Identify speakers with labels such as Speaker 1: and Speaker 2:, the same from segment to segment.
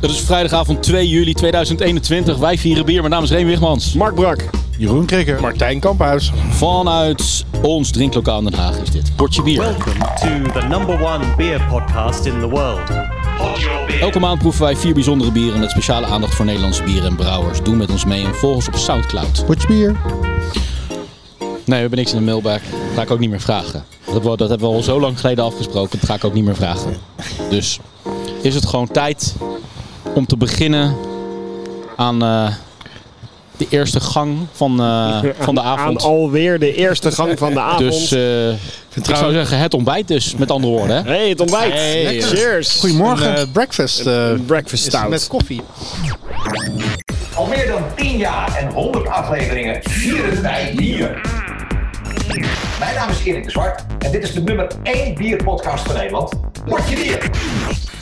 Speaker 1: Het is vrijdagavond 2 juli 2021. Wij vieren bier. Mijn naam is Reen Wigmans.
Speaker 2: Mark Brak,
Speaker 3: Jeroen Krikker.
Speaker 2: Martijn Kamphuis.
Speaker 1: Vanuit ons drinklokaal in Den Haag is dit. Portje bier.
Speaker 4: Welcome to the number one beer podcast in the world. Pod your beer.
Speaker 1: Elke maand proeven wij vier bijzondere bieren met speciale aandacht voor Nederlandse bieren en brouwers. Doe met ons mee en volg ons op Soundcloud.
Speaker 3: Potje bier.
Speaker 1: Nee, we hebben niks in de mailbag. Dat ga ik ook niet meer vragen. Dat hebben, we, dat hebben we al zo lang geleden afgesproken. Dat ga ik ook niet meer vragen. Dus is het gewoon tijd om te beginnen aan eh, de eerste gang van, eh, van de
Speaker 2: Aan
Speaker 1: avond.
Speaker 2: alweer de eerste gang van de avond.
Speaker 1: Dus eh, ik zou zeggen het ontbijt dus, met andere woorden. Hè?
Speaker 2: hey, het ontbijt.
Speaker 3: Hey. Lekker.
Speaker 2: Cheers.
Speaker 3: Een, eh, breakfast. eh,
Speaker 2: breakfast
Speaker 3: is
Speaker 2: stout.
Speaker 3: Met koffie.
Speaker 5: Al meer dan 10 jaar en 100 afleveringen vieren wij bier. Mijn naam is Erik de Zwart en dit is de nummer 1 bierpodcast van Nederland. Word je bier!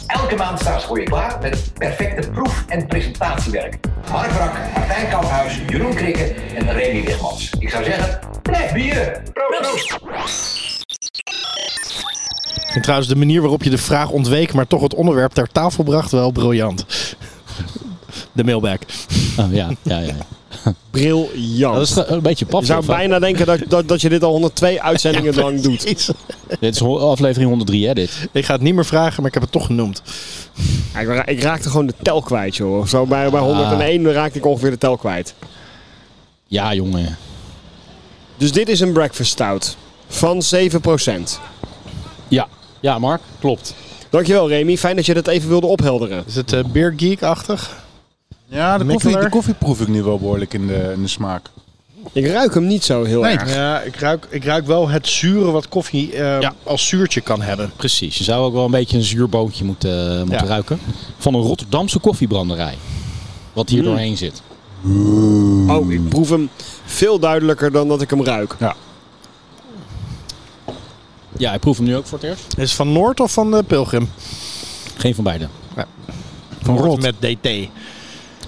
Speaker 5: Elke maand staan ze voor je klaar met perfecte proef- en presentatiewerk. Mark Brak, Martijn Kamphuis, Jeroen Krikke en Remy Wigmans. Ik zou zeggen, blijf bieren! Proost!
Speaker 3: Ik vind trouwens de manier waarop je de vraag ontweek, maar toch het onderwerp ter tafel bracht, wel briljant. De mailbag.
Speaker 1: Oh, ja, ja, ja.
Speaker 2: Briljant.
Speaker 1: Dat is ge- een beetje
Speaker 2: je
Speaker 1: pap.
Speaker 2: zou bijna denken dat, dat, dat je dit al 102 uitzendingen lang doet.
Speaker 3: Jezus.
Speaker 1: Dit is ho- aflevering 103, hè, dit.
Speaker 3: Ik ga het niet meer vragen, maar ik heb het toch genoemd.
Speaker 2: Ja, Ik, ra- ik raakte gewoon de tel kwijt, joh. Zo bij, bij 101 raakte ik ongeveer de tel kwijt.
Speaker 1: Ja, jongen.
Speaker 2: Dus dit is een breakfast stout van 7%.
Speaker 1: Ja. Ja, Mark, klopt.
Speaker 2: Dankjewel, Remy. Fijn dat je dat even wilde ophelderen.
Speaker 3: Is het eh Beer Geek-achtig?
Speaker 6: Ja, de
Speaker 3: Mikkeler?
Speaker 6: koffie, de koffie proef ik nu wel behoorlijk in de, in de smaak.
Speaker 2: Ik ruik hem niet zo heel erg.
Speaker 3: Ja, ik ruik, ik ruik wel het zure wat koffie eh,
Speaker 1: Ja.
Speaker 3: als zuurtje kan hebben.
Speaker 1: Precies. Je zou ook wel een beetje een zuurboontje moeten, eh, moeten
Speaker 3: Ja.
Speaker 1: ruiken. Van een Rotterdamse koffiebranderij. Wat hier doorheen zit.
Speaker 2: Oh, ik proef hem veel duidelijker dan dat ik hem ruik.
Speaker 1: Ja, ik proef hem nu ook voor het eerst.
Speaker 3: Is het van Noord of van de Pilgrim?
Speaker 1: Geen van beide.
Speaker 3: Van Noord met DT.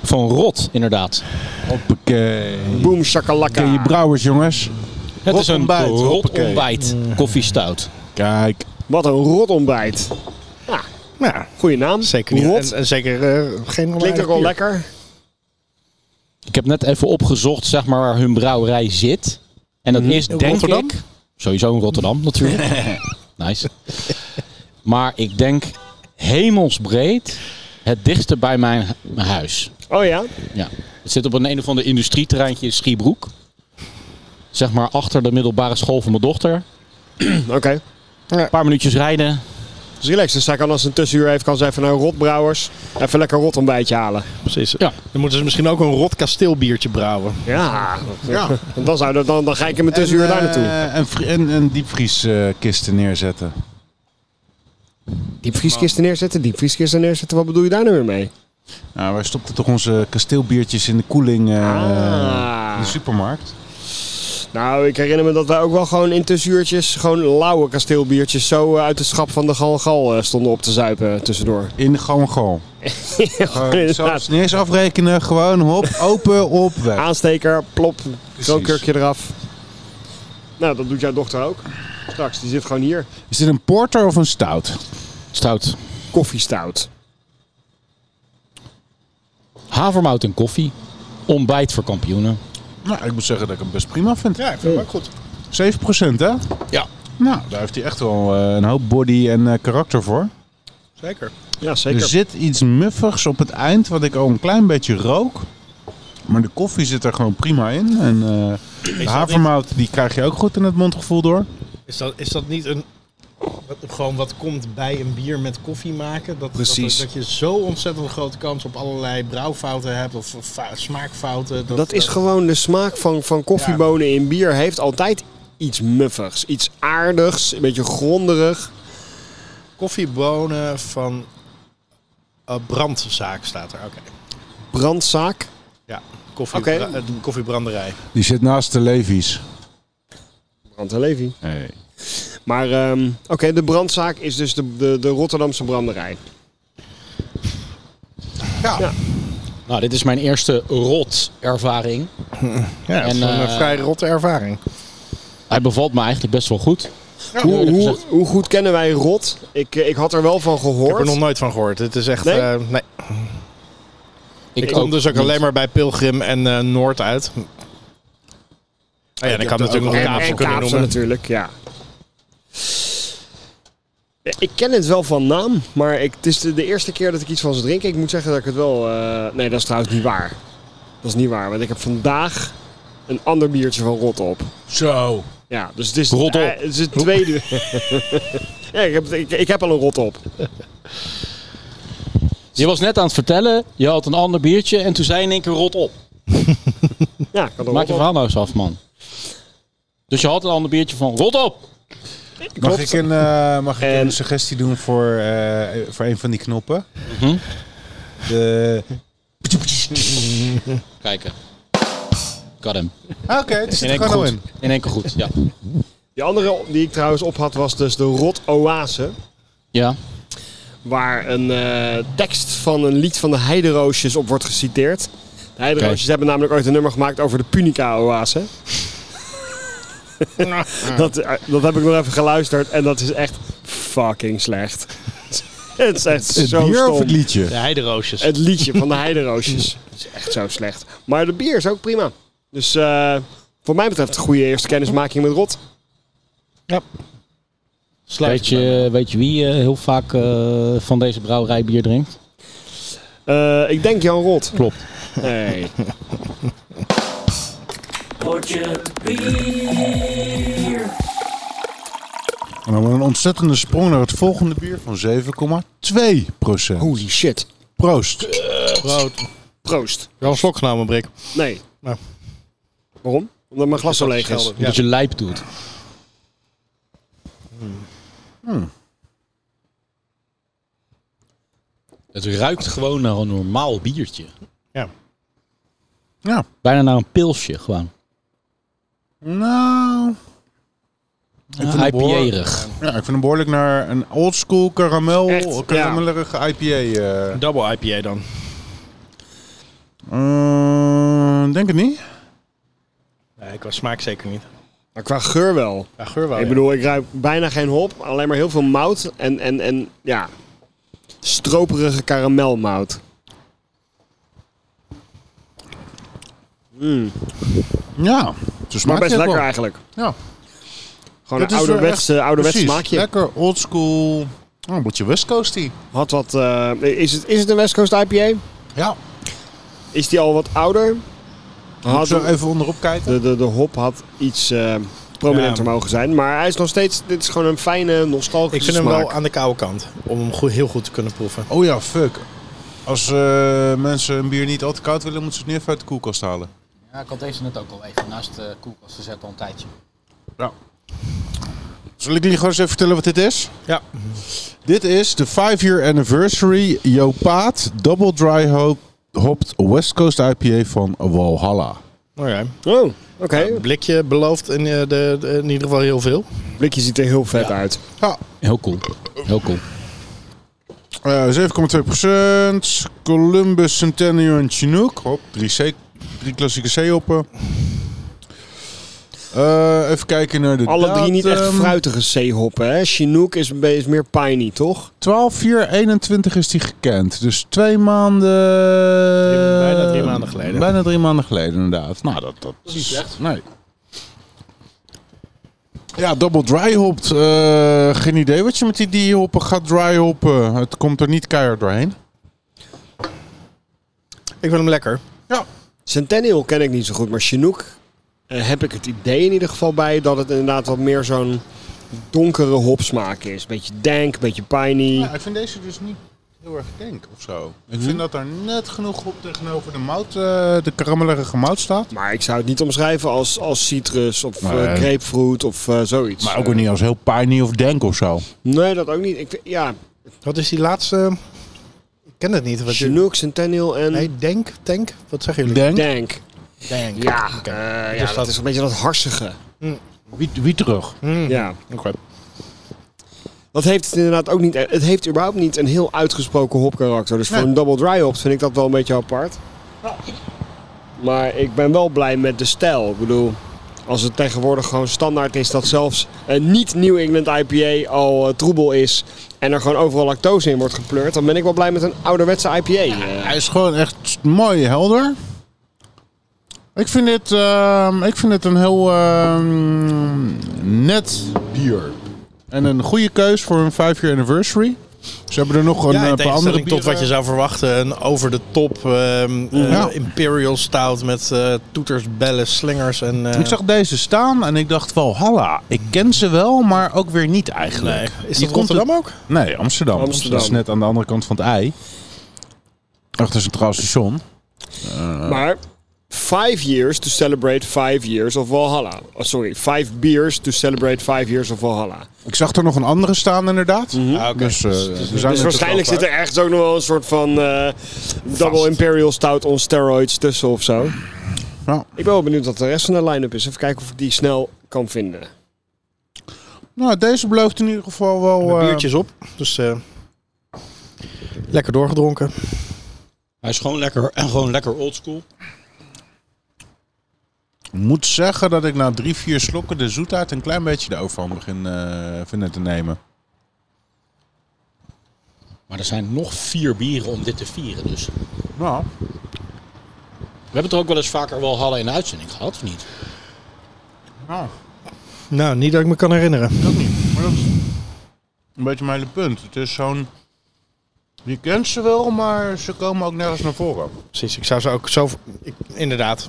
Speaker 1: Van Rot, inderdaad.
Speaker 6: Hoppakee.
Speaker 2: Boom
Speaker 6: Ken je
Speaker 2: shakalaka.
Speaker 6: brouwers, jongens?
Speaker 1: Het is een
Speaker 3: ontbijt,
Speaker 1: rot
Speaker 3: hoppakee.
Speaker 1: ontbijt. Koffiestout.
Speaker 6: Kijk.
Speaker 2: Wat een rot ontbijt.
Speaker 3: Ja,
Speaker 2: Goeie naam.
Speaker 3: zeker niet.
Speaker 2: Rot.
Speaker 3: En, en zeker eh, geen
Speaker 2: Klinkt ook wel lekker.
Speaker 1: Ik heb net even opgezocht zeg maar, waar hun brouwerij zit. En dat is denk
Speaker 3: Rotterdam?
Speaker 1: ik... Sowieso in Rotterdam natuurlijk. nice. Maar ik denk hemelsbreed het dichtste bij mijn, mijn huis.
Speaker 2: Oh ja?
Speaker 1: Ja. Het zit op een een of ander industrieterreintje in Schiebroek. Zeg maar achter de middelbare school van mijn dochter.
Speaker 2: Oké.
Speaker 1: Een paar minuutjes rijden.
Speaker 2: Dus relax. Dus zij kan als ze een tussenuur heeft, kan ze even naar Rotbrouwers. Even lekker rot ontbijtje halen.
Speaker 3: Precies.
Speaker 1: Ja.
Speaker 3: Dan moeten ze misschien ook een rot kasteelbiertje brouwen.
Speaker 2: Ja.
Speaker 6: Ja.
Speaker 2: Want dan, zou, dat- dan, dan ga ik in mijn tussenuur daar naartoe.
Speaker 6: eh, en, vri- en, en diepvrieskisten neerzetten.
Speaker 2: Diepvrieskisten neerzetten, diepvrieskisten neerzetten. Wat bedoel je daar nou weer mee?
Speaker 6: Nou, wij stopten toch onze kasteelbiertjes in de koeling eh,
Speaker 2: Ah.
Speaker 6: in de supermarkt.
Speaker 2: Nou, ik herinner me dat wij ook wel gewoon in tussenuurtjes... gewoon lauwe kasteelbiertjes zo eh, uit het schap van de Gal en Gal eh, stonden op te zuipen tussendoor.
Speaker 6: In de gewoon gewoon.
Speaker 2: inderdaad. Ah.
Speaker 6: Zelfs niet eens afrekenen, gewoon hop, open, op, weg.
Speaker 2: Aansteker, plop,
Speaker 6: Precies.
Speaker 2: zo'n kurkje eraf. Nou, dat doet jouw dochter ook. Straks, die zit gewoon hier.
Speaker 6: Is dit een porter of een stout?
Speaker 1: Stout.
Speaker 2: Koffiestout.
Speaker 1: Havermout en koffie. Ontbijt voor kampioenen.
Speaker 6: Nou, ik moet zeggen dat ik hem best prima vind.
Speaker 3: Ja, ik vind hem ook goed.
Speaker 6: 7 hè?
Speaker 1: Ja.
Speaker 6: Nou, daar heeft hij echt wel eh, een hoop body en eh, karakter voor.
Speaker 3: Zeker.
Speaker 2: Ja,
Speaker 6: Er
Speaker 2: zeker.
Speaker 6: zit iets muffigs op het eind, wat ik al een klein beetje rook. Maar de koffie zit er gewoon prima in. En eh, de havermout, die krijg je ook goed in het mondgevoel door.
Speaker 3: Is dat, is dat niet een. wat- gewoon wat komt bij een bier met koffie maken? Dat,
Speaker 6: Precies.
Speaker 3: Dat, dat je zo ontzettend grote kans op allerlei brouwfouten hebt of fa- smaakfouten.
Speaker 2: Dat is gewoon de smaak van, van koffiebonen in bier. Heeft altijd iets muffigs, iets aardigs, een beetje gronderig.
Speaker 3: Koffiebonen van eh, brandzaak staat er. Oké.
Speaker 2: Brandzaak.
Speaker 3: Ja. Koffie,
Speaker 2: Oké.
Speaker 3: bra- eh, koffiebranderij.
Speaker 6: Die zit naast de Levi's.
Speaker 2: Brand en Levy.
Speaker 6: Hey.
Speaker 2: Maar ehm, oké, de brandzaak is dus de, de, de Rotterdamse branderij.
Speaker 1: Nou, dit is mijn eerste rot ervaring.
Speaker 3: Ja,
Speaker 1: En,
Speaker 3: en, een
Speaker 1: eh,
Speaker 3: vrij rotte ervaring.
Speaker 1: Hij bevalt me eigenlijk best wel goed.
Speaker 2: Hoe,
Speaker 1: eerlijk
Speaker 2: hoe,
Speaker 1: gezegd.
Speaker 2: hoe goed kennen wij Rot? Ik, eh, ik had er wel van
Speaker 3: Ik heb er nog
Speaker 2: gehoord.
Speaker 3: nooit van gehoord. Het is echt.
Speaker 2: Nee?
Speaker 3: eh, nee.
Speaker 1: Ik,
Speaker 3: Ik kom dus ook
Speaker 1: niet.
Speaker 3: alleen maar bij Pilgrim en eh, Noord uit. Ah ja, dan kan natuurlijk nog
Speaker 2: En,
Speaker 3: Kaapse
Speaker 2: en
Speaker 3: kunnen
Speaker 2: Kaapse
Speaker 3: noemen.
Speaker 2: natuurlijk, ja. Ja, Ik ken het wel van naam, maar ik, het is de, de eerste keer dat ik iets van ze drink. Ik moet zeggen dat ik het wel... eh, nee, dat is trouwens niet waar. Dat is niet waar, want ik heb vandaag een ander biertje van Rot op.
Speaker 6: Zo.
Speaker 2: Ja, dus het is,
Speaker 1: Rot op.
Speaker 2: eh, het, is het tweede. ja, ik heb, ik, ik heb al een rot op.
Speaker 1: Je was net aan het vertellen, je had een ander biertje en toen zei je in één keer rot op.
Speaker 2: Ja, ik had
Speaker 1: Maak je
Speaker 2: een rot op.
Speaker 1: verhaal nou eens af, man. Dus je had een ander biertje van rot op.
Speaker 6: Mag ik een, eh, mag ik
Speaker 2: En-
Speaker 6: een suggestie doen voor, eh, voor een van die knoppen?
Speaker 1: Mhm.
Speaker 6: De...
Speaker 1: Kijken. Got hem.
Speaker 6: Ah, Oké, het
Speaker 1: In
Speaker 6: zit
Speaker 1: één
Speaker 6: er
Speaker 1: keer
Speaker 6: gewoon al
Speaker 1: goed.
Speaker 6: in.
Speaker 1: In één keer goed, ja.
Speaker 2: Die andere die ik trouwens op had was dus de Rot Oase.
Speaker 1: Ja.
Speaker 2: Waar een eh, tekst van een lied van de Heideroosjes op wordt geciteerd. De Heideroosjes
Speaker 1: Oké.
Speaker 2: hebben namelijk ooit een nummer gemaakt over de Punica Oase. dat, eh, dat heb ik nog even geluisterd en dat is echt fucking slecht. het is echt
Speaker 6: Het
Speaker 2: zo
Speaker 6: bier
Speaker 2: stom.
Speaker 6: of het liedje?
Speaker 3: De heideroosjes.
Speaker 2: Het liedje van de Heideroosjes. Dat is echt zo slecht. Maar de bier is ook prima. Dus eh, voor mij betreft een goede eerste kennismaking met rot.
Speaker 3: Sluit
Speaker 1: Weet je, weet je wie eh, heel vaak eh, van deze brouwerij bier drinkt?
Speaker 2: Eh, ik denk Jan Rot.
Speaker 1: Klopt.
Speaker 2: Nee.
Speaker 6: En dan een ontzettende sprong naar het volgende bier van 7,2 procent.
Speaker 2: Holy shit.
Speaker 6: Proost.
Speaker 3: brood.
Speaker 2: Proost.
Speaker 3: Wel een slok genomen, Brik.
Speaker 2: Nee.
Speaker 3: Nou.
Speaker 2: Waarom? Omdat mijn glas zo leeg is.
Speaker 3: Schelden.
Speaker 1: Dat je lijp doet. Het ruikt gewoon naar een normaal biertje.
Speaker 3: Ja.
Speaker 6: Ja,
Speaker 1: Bijna naar een pilsje gewoon.
Speaker 6: nou... Ik vind
Speaker 1: Ja,
Speaker 6: het behoorlijk-
Speaker 1: IPA-erig.
Speaker 6: Ja, ik vind hem behoorlijk naar een oldschool karamel,
Speaker 2: Echt?
Speaker 6: karamellerige IPA. eh.
Speaker 3: Een double IPA dan.
Speaker 6: Eh, denk het niet.
Speaker 3: Nee, qua smaak zeker niet.
Speaker 2: Maar qua geur wel.
Speaker 6: Oh,
Speaker 3: Ja, geur wel.
Speaker 2: ik
Speaker 3: ja.
Speaker 2: bedoel, ik ruik bijna geen hop. Alleen maar heel veel mout. En, en, en ja, stroperige karamelmout. Mm.
Speaker 6: Ja, ze
Speaker 2: Maar
Speaker 6: smaakt
Speaker 2: best
Speaker 6: echt
Speaker 2: lekker
Speaker 6: wel.
Speaker 2: eigenlijk.
Speaker 6: Ja.
Speaker 2: Gewoon
Speaker 6: Dat
Speaker 2: een
Speaker 6: is wel
Speaker 2: ouderwets,
Speaker 6: echt-
Speaker 2: eh, ouderwets
Speaker 6: precies.
Speaker 2: smaakje.
Speaker 6: Lekker oldschool. Oh, een beetje West Coasty.
Speaker 2: Had wat, eh, is, het, is het een West Coast IPA?
Speaker 6: Ja.
Speaker 2: Is die al wat ouder?
Speaker 6: Moet
Speaker 2: Had
Speaker 6: ik zo even onderop kijken.
Speaker 2: De, de, de hop had iets eh, prominenter
Speaker 3: Ja.
Speaker 2: mogen zijn. Maar hij is nog steeds... Dit is gewoon een fijne, nostalgische
Speaker 3: Ik vind hem
Speaker 2: smaak.
Speaker 3: wel aan de koude kant. Om hem goed, heel goed te kunnen proeven.
Speaker 6: Oh ja, fuck. Als eh, mensen een bier niet al te koud willen, moeten ze het nu even uit de koelkast halen.
Speaker 1: Ja, ik had deze net ook al even naast de koelkast gezet al een tijdje.
Speaker 6: Zal ik jullie gewoon eens even vertellen wat dit is?
Speaker 3: Ja.
Speaker 6: Dit is de 5-year anniversary Jopaat Double Dry Hop Hopped West Coast IPA van Walhalla.
Speaker 3: Oh ja.
Speaker 2: Oh, oké.
Speaker 3: Het blikje belooft in, eh, de, de- in ieder geval heel veel.
Speaker 2: Het blikje ziet er heel vet uit.
Speaker 6: Ja,
Speaker 1: Heel cool. Heel cool.
Speaker 6: eh, 7,2%. Columbus Centennial en Chinook. Hop, drie, C, drie klassieke C-hoppen. Eh, even kijken naar de
Speaker 2: Alle drie niet echt
Speaker 3: ehm,
Speaker 6: datum.
Speaker 2: fruitige C-hoppen, hè? Chinook is, be- is meer piney, toch?
Speaker 6: 12-4-21 is die gekend. Dus twee maanden...
Speaker 3: Bijna drie maanden geleden.
Speaker 6: Bijna drie maanden geleden, inderdaad. Nou, dat, dat, is
Speaker 1: niet slecht.
Speaker 6: Nee. Ja, double dry hopped. Eh, geen idee wat je met die, die hoppen gaat dry hoppen. Het komt er niet keihard doorheen.
Speaker 3: Ik vind hem lekker.
Speaker 2: Centennial ken ik niet zo goed, maar Chinook eh, heb ik het idee in ieder geval bij dat het inderdaad wat meer zo'n donkere hopsmaak is. Beetje dank, beetje piney.
Speaker 6: ik vind deze dus niet heel erg denk of zo. Ik vind dat daar net genoeg op tegenover de mout, eh, de karamellerige mout staat.
Speaker 2: Maar ik zou het niet omschrijven als, als citrus of eh,
Speaker 6: Nee.
Speaker 2: grapefruit of eh, zoiets.
Speaker 6: Maar ook weer niet als heel piney of denk of zo.
Speaker 2: Nee, dat ook niet. Ik, vind- ja,
Speaker 3: Wat is die laatste? Ik ken het niet. Wat je-
Speaker 2: Chinook, Centennial en
Speaker 3: Nee, denk, tank. Wat zeggen jullie?
Speaker 6: Denk.
Speaker 2: dank.
Speaker 3: Denk.
Speaker 2: Ja,
Speaker 3: Oké.
Speaker 2: eh,
Speaker 3: Dus
Speaker 2: ja
Speaker 3: dat-
Speaker 2: dat is een beetje dat harsige.
Speaker 6: Wie, wie terug?
Speaker 2: Hm.
Speaker 3: Mm.
Speaker 2: Ja.
Speaker 3: Oké.
Speaker 2: Dat heeft het inderdaad ook niet. Het heeft überhaupt niet een heel uitgesproken hopkarakter. Dus voor
Speaker 6: Nee.
Speaker 2: een double dry hop vind ik dat wel een beetje apart. Maar ik ben wel blij met de stijl. Ik bedoel, Als het tegenwoordig gewoon standaard is dat zelfs een niet-New England IPA al eh, troebel is. En er gewoon overal lactose in wordt gepleurd. Dan ben ik wel blij met een ouderwetse IPA. eh.
Speaker 6: Hij is gewoon echt mooi helder. Ik vind dit, ehm, ik vind dit een heel ehm, net bier. En een goede keus voor een 5 year anniversary. Ze hebben er nog een
Speaker 3: ja, in
Speaker 6: eh, paar andere
Speaker 3: tegenstelling
Speaker 6: bieren.
Speaker 3: tot wat je zou verwachten. Een over de top ehm, eh,
Speaker 6: Ja.
Speaker 3: Imperial Stout met eh, toeters, bellen, slingers. En, eh,
Speaker 6: Ik zag deze staan en ik dacht wel, halla, ik ken ze wel, maar ook weer niet eigenlijk.
Speaker 3: Nee. Is
Speaker 6: Die
Speaker 3: dat
Speaker 6: komt
Speaker 3: Rotterdam ook?
Speaker 6: uit- Nee, Amsterdam.
Speaker 2: Amsterdam.
Speaker 6: Dat is net aan de andere kant van het ei. Achter Centraal Station.
Speaker 2: Maar five years to celebrate five years of Valhalla. Oh, sorry, five beers to celebrate five years of Valhalla.
Speaker 6: Ik zag er nog een andere staan inderdaad.
Speaker 3: Ah, oké.
Speaker 6: Dus, eh, we zijn er
Speaker 2: Dus
Speaker 6: te
Speaker 2: waarschijnlijk
Speaker 6: koop,
Speaker 2: zit
Speaker 6: hè?
Speaker 2: er ergens ook nog wel een soort van eh, double imperial stout on steroids tussen of zo.
Speaker 6: Ja.
Speaker 2: Ik ben wel benieuwd wat de rest van de line-up is. Even kijken of ik die snel kan vinden.
Speaker 6: Nou, deze belooft in ieder geval
Speaker 3: Mijn
Speaker 6: wel... eh,
Speaker 3: biertjes op. Dus eh, lekker doorgedronken.
Speaker 7: Hij is gewoon lekker, en gewoon lekker oldschool.
Speaker 6: moet zeggen dat ik na drie, vier slokken de zoetheid een klein beetje de overhand begin eh vinden te nemen.
Speaker 1: Maar er zijn nog vier bieren om dit te vieren. Dus we
Speaker 6: Nou,
Speaker 1: hebben het er ook wel eens vaker wel Halle in de uitzending gehad, of niet?
Speaker 6: nou
Speaker 3: Nou, niet dat ik me kan herinneren.
Speaker 6: dat niet. Maar dat is een beetje mijn hele punt. Het is zo'n... Je kent ze wel, maar ze komen ook nergens naar voren.
Speaker 3: Precies, ik zou ze ook zo... ik- inderdaad,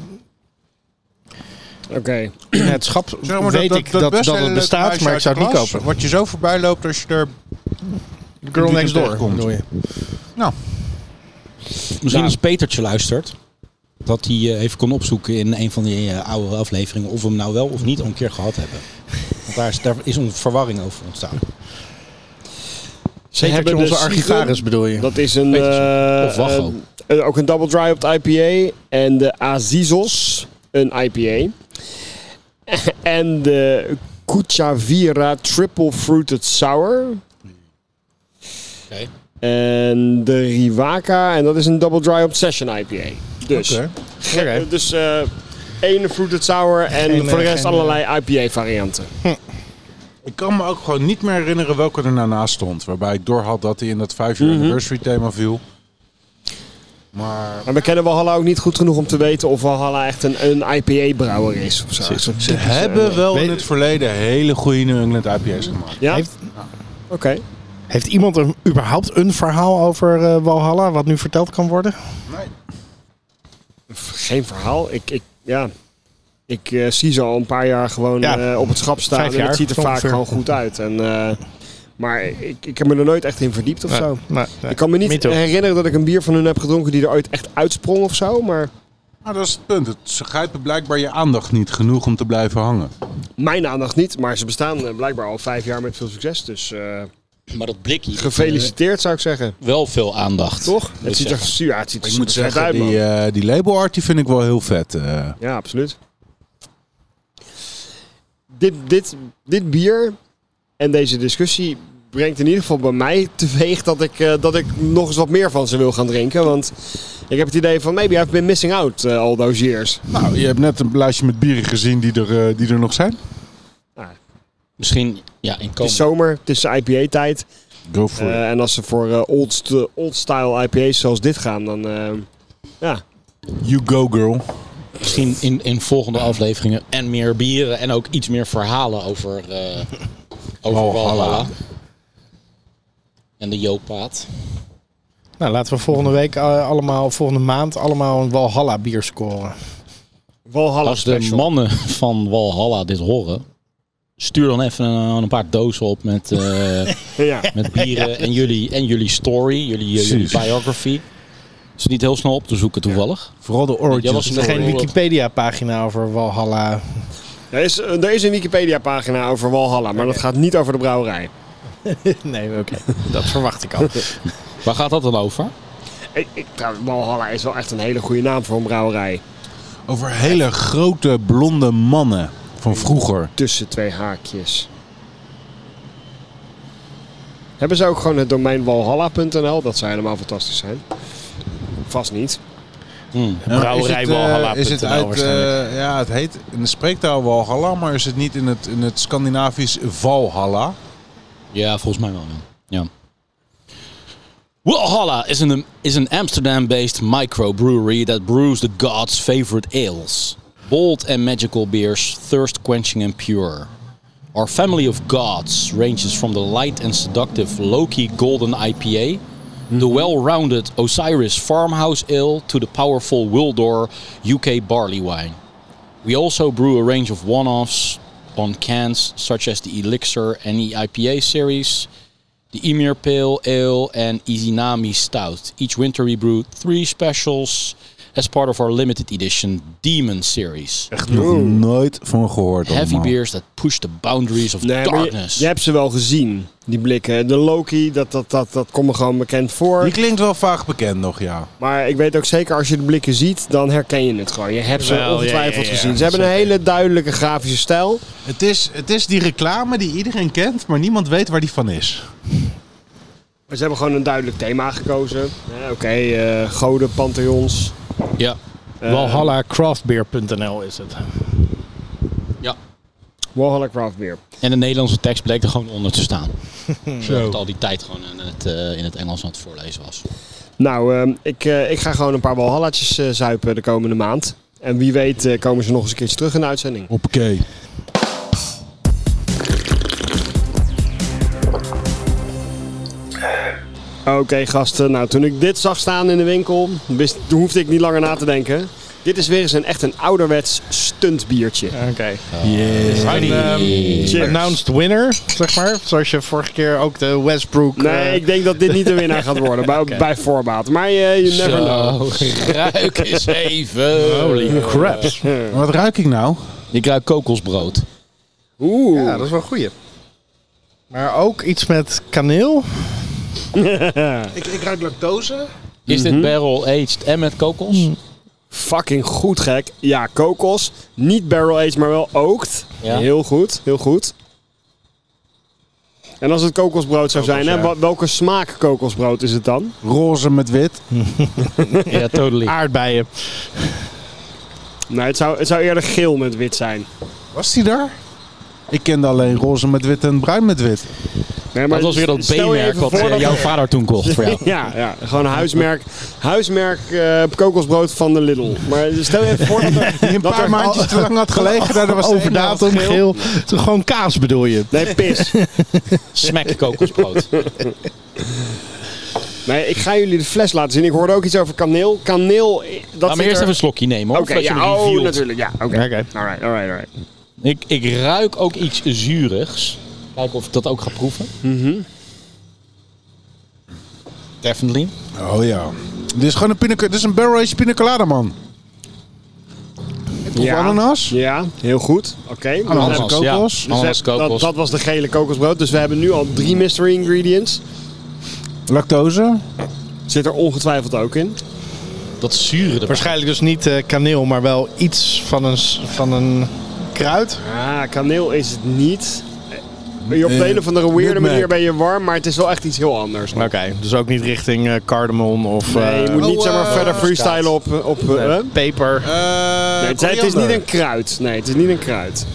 Speaker 2: Oké.
Speaker 3: in het schap
Speaker 6: Zeg maar,
Speaker 3: weet ik dat, dat,
Speaker 6: best hele
Speaker 3: het
Speaker 6: leuke
Speaker 3: bestaat,
Speaker 6: meisje
Speaker 3: maar ik zou het
Speaker 6: uit
Speaker 3: niet
Speaker 6: de klas,
Speaker 3: kopen.
Speaker 6: Wat je zo voorbij loopt als je er...
Speaker 3: Girl
Speaker 6: die
Speaker 3: Next
Speaker 6: er
Speaker 3: Door,
Speaker 6: tegenkomt.
Speaker 3: bedoel je?
Speaker 6: Nou,
Speaker 1: Misschien als Petertje luistert. Dat hij eh, even kon opzoeken in een van die eh, oude afleveringen. Of we hem nou wel of niet al een keer gehad hebben. Want daar is, daar is een verwarring over ontstaan.
Speaker 2: Ze
Speaker 3: Petertje,
Speaker 2: hebben
Speaker 3: onze
Speaker 2: de
Speaker 3: archivaris bedoel je?
Speaker 2: Dat is een,
Speaker 1: Petersen.
Speaker 2: eh,
Speaker 1: Of Wacho.
Speaker 2: een- een- ook een double dry op de IPA. En de Azizos, een IPA. en de Cuchavira Triple Fruited Sour.
Speaker 1: Oké.
Speaker 2: En de Riwaka, en dat is een double dry op session IPA. Dus,
Speaker 3: Oké.
Speaker 2: ge- dus eh één fruited sour en
Speaker 3: Geen,
Speaker 2: voor de
Speaker 3: eh,
Speaker 2: rest
Speaker 3: geen,
Speaker 2: allerlei IPA varianten.
Speaker 6: ik kan me ook gewoon niet meer herinneren welke er nou naast stond. Waarbij ik doorhad dat hij in dat 5
Speaker 3: Mhm.
Speaker 6: year anniversary thema viel. Maar...
Speaker 2: Maar we kennen Walhalla ook niet goed genoeg om te weten of Walhalla echt een, een IPA-brouwer is. Of zo. Een soort
Speaker 6: Ze
Speaker 2: typische-
Speaker 6: hebben wel in
Speaker 3: Weet-
Speaker 6: het verleden hele goede New England IPA's gemaakt.
Speaker 2: Ja? Oké.
Speaker 3: Heeft, heeft iemand er überhaupt een verhaal over eh, Walhalla wat nu verteld kan worden?
Speaker 2: Geen verhaal. Ik, ik, ja. ik eh, zie ze al een paar jaar gewoon
Speaker 3: Ja.
Speaker 2: eh, op het schap staan.
Speaker 3: Vijf
Speaker 2: en het
Speaker 3: jaar,
Speaker 2: ziet er vaak
Speaker 3: ongeveer.
Speaker 2: gewoon goed uit. En, eh, maar ik, ik heb me er nooit echt in verdiept of zo.
Speaker 3: Nee, nee.
Speaker 2: Ik kan me niet
Speaker 3: toch.
Speaker 2: herinneren dat ik een bier van hun heb gedronken die er ooit echt uitsprong of zo. Maar
Speaker 6: Maar dat is het punt. Het- Ze grijpen blijkbaar je aandacht niet genoeg om te blijven hangen.
Speaker 2: mijn aandacht niet. Maar ze bestaan eh, blijkbaar al vijf jaar met veel succes. Dus eh,
Speaker 1: Maar dat blikje.
Speaker 2: gefeliciteerd zou ik zeggen.
Speaker 1: eh, Wel veel aandacht.
Speaker 2: Toch?
Speaker 1: wil ik
Speaker 2: Het ziet er,
Speaker 1: zeggen.
Speaker 2: ja, het ziet er
Speaker 6: Ik moet
Speaker 2: vet
Speaker 6: zeggen,
Speaker 2: uit, man.
Speaker 6: die, eh, die label art die vind ik wel heel vet. eh.
Speaker 2: Ja, absoluut. Dit, dit, dit bier en deze discussie brengt in ieder geval bij mij teweeg dat ik, eh, dat ik nog eens wat meer van ze wil gaan drinken. Want ik heb het idee van maybe I've been missing out eh, all those years.
Speaker 6: Nou, je hebt net een lijstje met bieren gezien die er, eh, die er nog zijn.
Speaker 1: Misschien ja, in
Speaker 2: Het
Speaker 1: komende
Speaker 2: Nou, is zomer, het is IPA-tijd.
Speaker 6: Go for it.
Speaker 2: en als ze voor eh, old, st- old style IPA's zoals dit gaan, dan eh, ja,
Speaker 6: You go, girl.
Speaker 1: Misschien in, in volgende afleveringen en meer bieren en ook iets meer verhalen over, eh over
Speaker 6: Walhalla.
Speaker 1: Walhalla. En de Jooppaat.
Speaker 3: Nou, laten we volgende week eh, allemaal, volgende maand allemaal een Walhalla bier scoren.
Speaker 2: Walhalla
Speaker 1: Als de
Speaker 2: special.
Speaker 1: mannen van Walhalla dit horen, stuur dan even een, een paar dozen op met, eh,
Speaker 2: Ja.
Speaker 1: met bieren en, jullie, en jullie story, jullie, eh, jullie
Speaker 6: Precies.
Speaker 1: biography. Is het niet heel snel op te zoeken toevallig?
Speaker 6: Vooral de
Speaker 1: Jij was
Speaker 6: origins.
Speaker 1: een-
Speaker 3: Er is geen
Speaker 1: Sorry.
Speaker 3: Wikipedia pagina over Walhalla.
Speaker 2: Er, is, eh, er is een Wikipedia-pagina over Walhalla, maar dat gaat niet over de brouwerij.
Speaker 3: nee, oké. Dat verwacht ik al. Eh,
Speaker 1: Waar gaat dat dan over?
Speaker 2: Ik, ik, trouwens, Walhalla is wel echt een hele goede naam voor een brouwerij.
Speaker 6: Over hele grote blonde mannen van vroeger.
Speaker 2: Tussen twee haakjes. Hebben ze ook gewoon het domein walhalla.nl? Dat zou helemaal fantastisch zijn. Vast niet.
Speaker 6: Ja, maar is
Speaker 8: Brouwerij
Speaker 6: het, eh,
Speaker 8: Walhalla
Speaker 6: Is het
Speaker 8: punt N L
Speaker 6: uit,
Speaker 8: waarschijnlijk.
Speaker 6: eh, ja, het heet in de spreektaal Walhalla, maar is het niet in het, in het Scandinavisch Valhalla?
Speaker 1: Ja, volgens mij wel. Ja. ja. Walhalla is een, is een Amsterdam-based microbrewery that brews the gods' favorite ales. Bold and magical beers, thirst-quenching and pure. Our family of gods ranges from the light and seductive Loki Golden IPA, the well-rounded Osiris Farmhouse Ale, to the powerful Wildor UK Barley Wine. We also brew a range of one-offs on cans, such as the Elixir and E the IPA series, the Emir Pale Ale, and Izinami Stout. Each winter we brew three specials as part of our limited edition Demon series.
Speaker 6: Echt nog nooit van gehoord.
Speaker 1: Heavy
Speaker 6: allemaal.
Speaker 1: beers that push the boundaries of
Speaker 2: Nee, maar je,
Speaker 1: darkness.
Speaker 2: je hebt ze wel gezien, die blikken. De Loki, dat, dat, dat, dat komt me gewoon bekend voor.
Speaker 6: Die klinkt wel vaag bekend nog, ja.
Speaker 2: Maar ik weet ook zeker, als je de blikken ziet, dan herken je het gewoon. Je hebt ze
Speaker 8: Wel, ja,
Speaker 2: ongetwijfeld
Speaker 8: ja, ja,
Speaker 2: gezien. Ze hebben een hele duidelijke grafische stijl.
Speaker 6: Het is, het is die reclame die iedereen kent, maar niemand weet waar die van is.
Speaker 2: Maar ze hebben gewoon een duidelijk thema gekozen. Ja, Oké, eh, goden, pantheons.
Speaker 1: Ja.
Speaker 2: eh,
Speaker 3: Walhallacraftbeer.nl is het.
Speaker 2: Walhalla Craft Beer.
Speaker 1: En de Nederlandse tekst bleek er gewoon onder te staan.
Speaker 6: Zo.
Speaker 1: Dat al die tijd gewoon in het, eh, in het Engels aan het voorlezen was.
Speaker 2: Nou, ehm, ik, eh, ik ga gewoon een paar walhallatjes eh, zuipen de komende maand. En wie weet eh, komen ze nog eens een keertje terug in de uitzending.
Speaker 6: Hoppakee.
Speaker 2: Oké gasten, nou toen ik dit zag staan in de winkel, wist, toen hoefde ik niet langer na te denken. Dit is weer eens een echt een ouderwets stuntbiertje.
Speaker 3: Oké. Een, ehm,
Speaker 2: Cheers.
Speaker 3: announced winner, zeg maar. Zoals je vorige keer ook de Westbrook...
Speaker 2: Nee,
Speaker 3: eh,
Speaker 2: ik denk dat dit niet de winnaar gaat worden, bij, bij voorbaat. Maar je you never know.
Speaker 1: Zo, ruik eens even.
Speaker 3: Holy craps.
Speaker 6: Wat ruik ik nou?
Speaker 1: Ik ruik kokosbrood.
Speaker 2: Oeh,
Speaker 3: Ja, dat is wel een goeie. Maar ook iets met kaneel.
Speaker 6: Ik, ik ruik lactose.
Speaker 1: Is
Speaker 2: Mhm.
Speaker 1: dit barrel aged en met kokos?
Speaker 2: Mm. fucking goed gek. Ja, kokos. Niet barrel aged, maar wel oakt.
Speaker 1: Ja.
Speaker 2: Heel goed, heel goed. En als het kokosbrood zou zijn, hè, wa- welke smaak kokosbrood is het dan?
Speaker 6: Roze met wit.
Speaker 1: Ja, totally.
Speaker 2: Ah,
Speaker 3: Aardbeien.
Speaker 2: Nee, Nou, het zou, het zou eerder geel met wit zijn.
Speaker 6: Was die daar? Ik kende alleen roze met wit en bruin met wit.
Speaker 2: Nee, maar
Speaker 1: Dat was weer dat
Speaker 2: stel je
Speaker 1: B-merk
Speaker 2: even
Speaker 1: wat
Speaker 2: voor
Speaker 1: eh,
Speaker 2: dat-
Speaker 1: jouw vader toen kocht voor jou.
Speaker 2: Ja, ja, gewoon huismerk, huismerk eh, kokosbrood van de Lidl. Maar stel je even voor dat er...
Speaker 6: Die een
Speaker 2: dat
Speaker 6: paar
Speaker 2: er-
Speaker 6: maandjes te lang had gelegen. Daar was de ene
Speaker 3: Overdatum,
Speaker 6: helft geel.
Speaker 3: geel. Toen Gewoon kaas bedoel je.
Speaker 2: Nee, pis.
Speaker 1: Smack kokosbrood.
Speaker 2: Nee, ik ga jullie de fles laten zien. Ik hoorde ook iets over kaneel. Kaneel, eh, dat
Speaker 1: Laat me
Speaker 2: zit
Speaker 1: eerst
Speaker 2: er-
Speaker 1: even een slokje nemen. hoor,
Speaker 2: Oké,
Speaker 1: voordat je
Speaker 2: ja,
Speaker 1: hem
Speaker 2: oh,
Speaker 1: revealt.
Speaker 2: natuurlijk, ja. Oké,
Speaker 3: Oké.
Speaker 2: alright, alright, alright.
Speaker 1: ik, ik ruik ook iets zuurigs. Kijken of ik dat ook ga proeven.
Speaker 2: Mhm.
Speaker 1: Definitely.
Speaker 6: Oh ja. Dit is gewoon een pina, dit is een barrel aged pina colada, man. Ik proef
Speaker 2: Ja.
Speaker 6: ananas.
Speaker 2: Ja, heel goed. Oké, maar dan heb
Speaker 6: Ananas
Speaker 2: ik-
Speaker 1: Ananas, ja.
Speaker 6: kokos. Dus
Speaker 2: dus
Speaker 1: Ananas,
Speaker 2: heb- dat,
Speaker 1: kokos.
Speaker 2: dat was de gele kokosbrood. Dus we hebben nu al drie mystery ingredients.
Speaker 6: Lactose.
Speaker 2: Zit er ongetwijfeld ook in.
Speaker 1: Dat zure erbij.
Speaker 3: Waarschijnlijk dus niet eh, kaneel, maar wel iets van een, s- van een kruid.
Speaker 2: Ah, kaneel is het niet. Eh, je Op de
Speaker 6: Eh,
Speaker 2: een of andere weirde
Speaker 6: nutmeg.
Speaker 2: manier ben je warm, maar het is wel echt iets heel anders.
Speaker 3: Oké, dus ook niet richting eh, cardamom of
Speaker 2: Nee, je moet
Speaker 6: Oh,
Speaker 2: niet zeg maar
Speaker 6: eh,
Speaker 2: verder freestylen op... op eh,
Speaker 3: eh,
Speaker 2: hè?
Speaker 3: peper.
Speaker 2: Nee, het, is- het is niet een kruid. Nee, het is niet een kruid.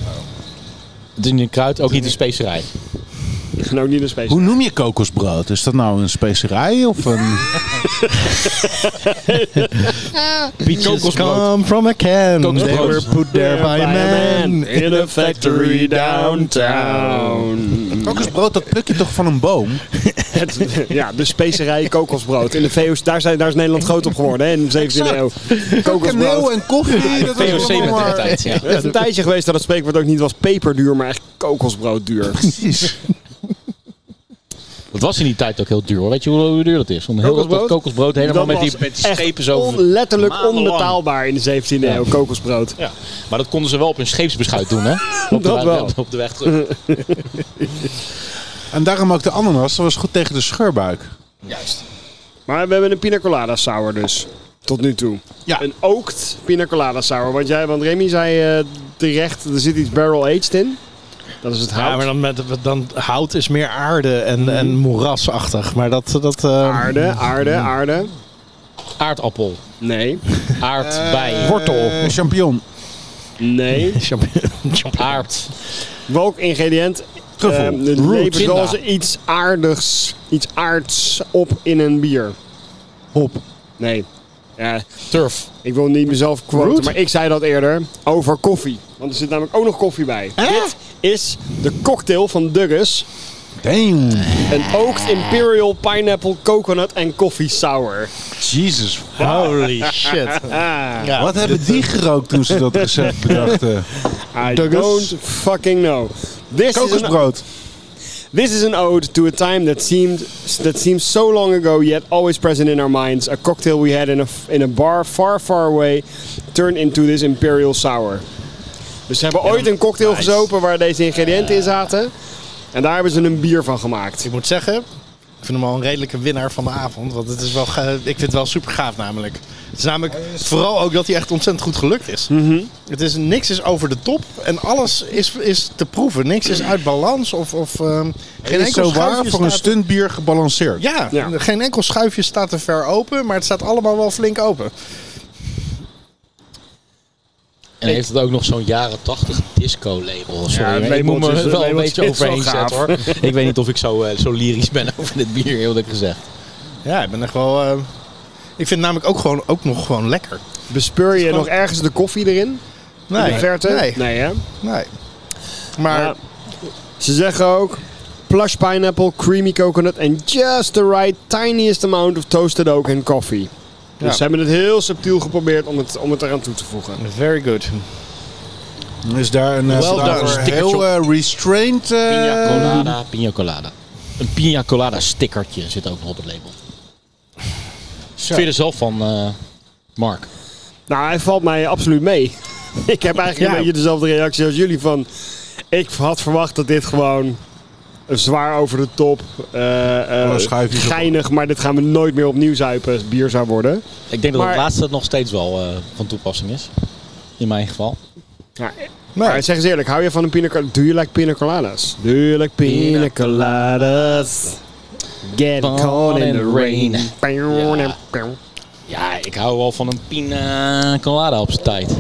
Speaker 1: Het is niet een kruid, ook niet een specerij.
Speaker 2: En ook niet een special.
Speaker 6: Hoe noem je kokosbrood? Is dat nou een specerij of een...
Speaker 3: Peaches come from a can. They
Speaker 1: Kokosbrood.
Speaker 3: were put there by a man.
Speaker 2: in a factory downtown.
Speaker 6: kokosbrood, dat pluk je toch van een boom?
Speaker 2: Het- ja, de specerij kokosbrood. In de VOC, daar, zijn, daar is Nederland groot op geworden hè, in de 17e eeuw.
Speaker 6: Kaneel
Speaker 2: Kokosbrood.
Speaker 6: en koffie. Dat was
Speaker 1: VOC
Speaker 6: allemaal
Speaker 1: met de
Speaker 6: maar-
Speaker 1: tijd, ja.
Speaker 2: Het is een tijdje geweest dat het spreekwoord ook niet was peperduur, maar echt kokosbroodduur.
Speaker 6: Precies.
Speaker 1: Dat was in die tijd ook heel duur hoor. Weet je hoe, hoe duur dat is? Om heel dat- dat
Speaker 2: Kokosbrood?
Speaker 1: kokosbrood helemaal
Speaker 2: Dat
Speaker 1: met die,
Speaker 2: was
Speaker 1: met die schepen zo...
Speaker 2: On, letterlijk
Speaker 1: maandenlang.
Speaker 2: onbetaalbaar in de 17e eeuw, kokosbrood.
Speaker 1: Ja, maar dat konden ze wel op hun scheepsbeschuit doen hè. Op de,
Speaker 2: Dat wel.
Speaker 1: Op de weg terug.
Speaker 6: En daarom ook de ananas. Dat was goed tegen de scheurbuik.
Speaker 1: Juist.
Speaker 2: Maar we hebben een pina colada sour dus, tot nu toe.
Speaker 6: Ja.
Speaker 2: Een ookt pina colada sour, want, jij, want Remy zei eh, terecht, er zit iets barrel aged in. Dat is het hout.
Speaker 3: Ja, maar dan, met, dan hout is meer aarde en, en moerasachtig. Maar dat... dat eh,
Speaker 2: Aarde, aarde, aarde.
Speaker 1: Aardappel.
Speaker 2: Nee. Eh,
Speaker 1: Aardbei.
Speaker 3: Wortel.
Speaker 6: Een Eh, champignon.
Speaker 2: Nee.
Speaker 1: Aard.
Speaker 2: Welk ingrediënt
Speaker 3: Truffel.
Speaker 2: ehm,
Speaker 3: Root.
Speaker 2: levert wel
Speaker 3: Ginda.
Speaker 2: eens iets aardigs, iets aards op in een bier?
Speaker 3: Hop.
Speaker 2: Nee. Ja,
Speaker 1: Turf.
Speaker 2: ik wil niet mezelf quoten,
Speaker 3: Root?
Speaker 2: maar ik zei dat eerder over koffie. Want er zit namelijk ook nog koffie bij. Dit is de cocktail van Douglas.
Speaker 6: Damn.
Speaker 2: Een Oaked Imperial Pineapple Coconut en Coffee Sour. Ah,
Speaker 6: Jesus.
Speaker 3: Holy shit. Ja,
Speaker 6: Wat hebben die gerookt toen ze dat recept bedachten?
Speaker 2: I
Speaker 3: Douglas.
Speaker 2: don't fucking know. This is an
Speaker 6: Kokosbrood.
Speaker 2: This is an ode to a time that seemed that seems so long ago, yet always present in our minds. A cocktail we had in a in a bar far, far away turned into this imperial sour. Dus ze hebben ooit een cocktail gezopen waar deze ingrediënten in zaten. En daar hebben ze een bier van gemaakt.
Speaker 3: Ik moet zeggen, ik vind hem al een redelijke winnaar van de avond. Want het is wel, ge- ik vind het wel super gaaf namelijk. Het is namelijk vooral ook dat hij echt ontzettend goed gelukt is. Het is niks is over de top en alles is, is te proeven. Niks is uit balans of, of ehm, geen
Speaker 6: Het is
Speaker 3: enkel
Speaker 6: zo waar
Speaker 3: schuifje
Speaker 6: voor een
Speaker 3: staat-
Speaker 6: stuntbier gebalanceerd.
Speaker 3: Ja,
Speaker 2: Ja.
Speaker 3: geen enkel schuifje staat te ver open, maar het staat allemaal wel flink open.
Speaker 1: En heeft het ook nog zo'n jaren 80 disco-label.
Speaker 2: Ja,
Speaker 1: Sorry,
Speaker 2: het
Speaker 1: maar ik moet
Speaker 2: labeltje
Speaker 1: me
Speaker 2: is- het
Speaker 1: wel een
Speaker 2: labeltje
Speaker 1: beetje
Speaker 2: is wel
Speaker 1: overheen
Speaker 2: gaaf.
Speaker 1: zetten hoor. ik weet niet of ik zo, eh, zo lyrisch ben over dit bier, eerlijk gezegd.
Speaker 3: Ja, ik ben echt wel... ehm, ik vind het namelijk ook, gewoon, ook nog gewoon lekker.
Speaker 2: Bespeur je nog ergens de koffie erin? In de verte?
Speaker 3: Nee,
Speaker 2: nee hè?
Speaker 3: nee. Maar
Speaker 2: Ja. Ze zeggen ook plush pineapple, creamy coconut and just the right tiniest amount of toasted oak and coffee. Dus
Speaker 3: Ja.
Speaker 2: ze hebben het heel subtiel geprobeerd om het, om het eraan toe te voegen.
Speaker 3: very good.
Speaker 6: Is daar een eh,
Speaker 3: Well
Speaker 6: daar
Speaker 3: done.
Speaker 6: een
Speaker 3: Stickertje
Speaker 6: heel
Speaker 3: op.
Speaker 6: eh, restrained... eh,
Speaker 1: Pina colada, pina colada. Een pina colada stickertje zit ook nog op het label. Vind je er zelf van, eh, Mark?
Speaker 2: Nou, hij valt mij absoluut mee. ik heb eigenlijk een
Speaker 3: Ja.
Speaker 2: beetje dezelfde reactie als jullie van... Ik had verwacht dat dit gewoon zwaar over de top, eh, eh,
Speaker 6: Alle schuifjes op.
Speaker 2: geinig, maar dit gaan we nooit meer opnieuw zuipen, bier zou worden.
Speaker 1: Ik denk dat
Speaker 2: Maar-
Speaker 1: het laatste nog steeds wel eh, van toepassing is. In mijn geval.
Speaker 2: Ja,
Speaker 3: Nee.
Speaker 2: Maar zeg eens eerlijk, hou je van een pina colada? Do you like pina coladas? Do you like pina coladas? Get
Speaker 1: Born
Speaker 2: caught in
Speaker 1: in
Speaker 2: the
Speaker 1: the
Speaker 2: rain.
Speaker 1: rain. Ja. Ja, ik hou wel van een pina colada op zijn tijd.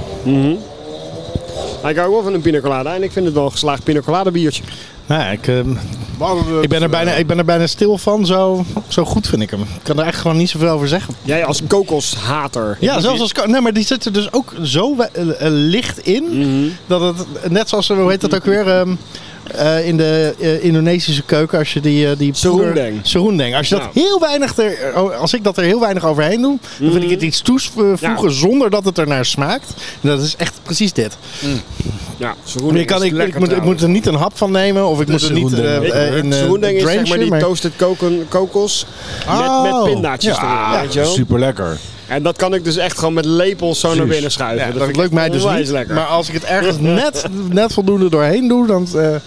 Speaker 2: Ik hou wel van een pina colada en ik vind het wel een geslaagd pina colada biertje.
Speaker 3: Nou, ja, ik, ehm,
Speaker 6: we hadden het,
Speaker 3: ik, ben er
Speaker 6: eh,
Speaker 3: bijna, ik ben er bijna stil van, zo, zo goed vind ik hem. Ik kan er echt gewoon niet zoveel over zeggen.
Speaker 2: Jij als kokoshater.
Speaker 3: Ja, zelfs als... Nee, maar die zit er dus ook zo we- eh, eh, licht in,
Speaker 2: Mhm.
Speaker 3: dat het, net zoals, eh, hoe heet dat ook weer, ehm, eh, in de eh, Indonesische keuken, als je die... eh, die poeder-
Speaker 2: Serundeng.
Speaker 3: Serundeng. Als je dat
Speaker 2: Ja.
Speaker 3: heel weinig, er, oh, als ik dat er heel weinig overheen doe, dan vind ik het iets toevoegen
Speaker 2: Mhm. Ja.
Speaker 3: zonder dat het er naar smaakt. En dat is echt precies dit.
Speaker 2: Ja,
Speaker 3: Ik, kan, ik, ik, moet, ik moet er niet een hap van nemen, of ik moet er niet eh,
Speaker 6: serundeng.
Speaker 3: eh, in eh,
Speaker 2: is zeg
Speaker 3: drenchen,
Speaker 2: maar die
Speaker 3: maar-
Speaker 2: toasted kokon- kokos met,
Speaker 3: Oh.
Speaker 2: met pindaatjes erin, weet je wel?
Speaker 6: Super lekker.
Speaker 2: En dat kan ik dus echt gewoon met lepels zo naar
Speaker 6: Precies.
Speaker 2: binnen schuiven.
Speaker 3: Ja,
Speaker 2: dat
Speaker 3: dat,
Speaker 2: vind ik
Speaker 3: lukt mij dus
Speaker 2: onwijs
Speaker 3: niet.
Speaker 2: lekker.
Speaker 3: Maar als ik het ergens net, net voldoende doorheen doe, dan eh
Speaker 2: sommige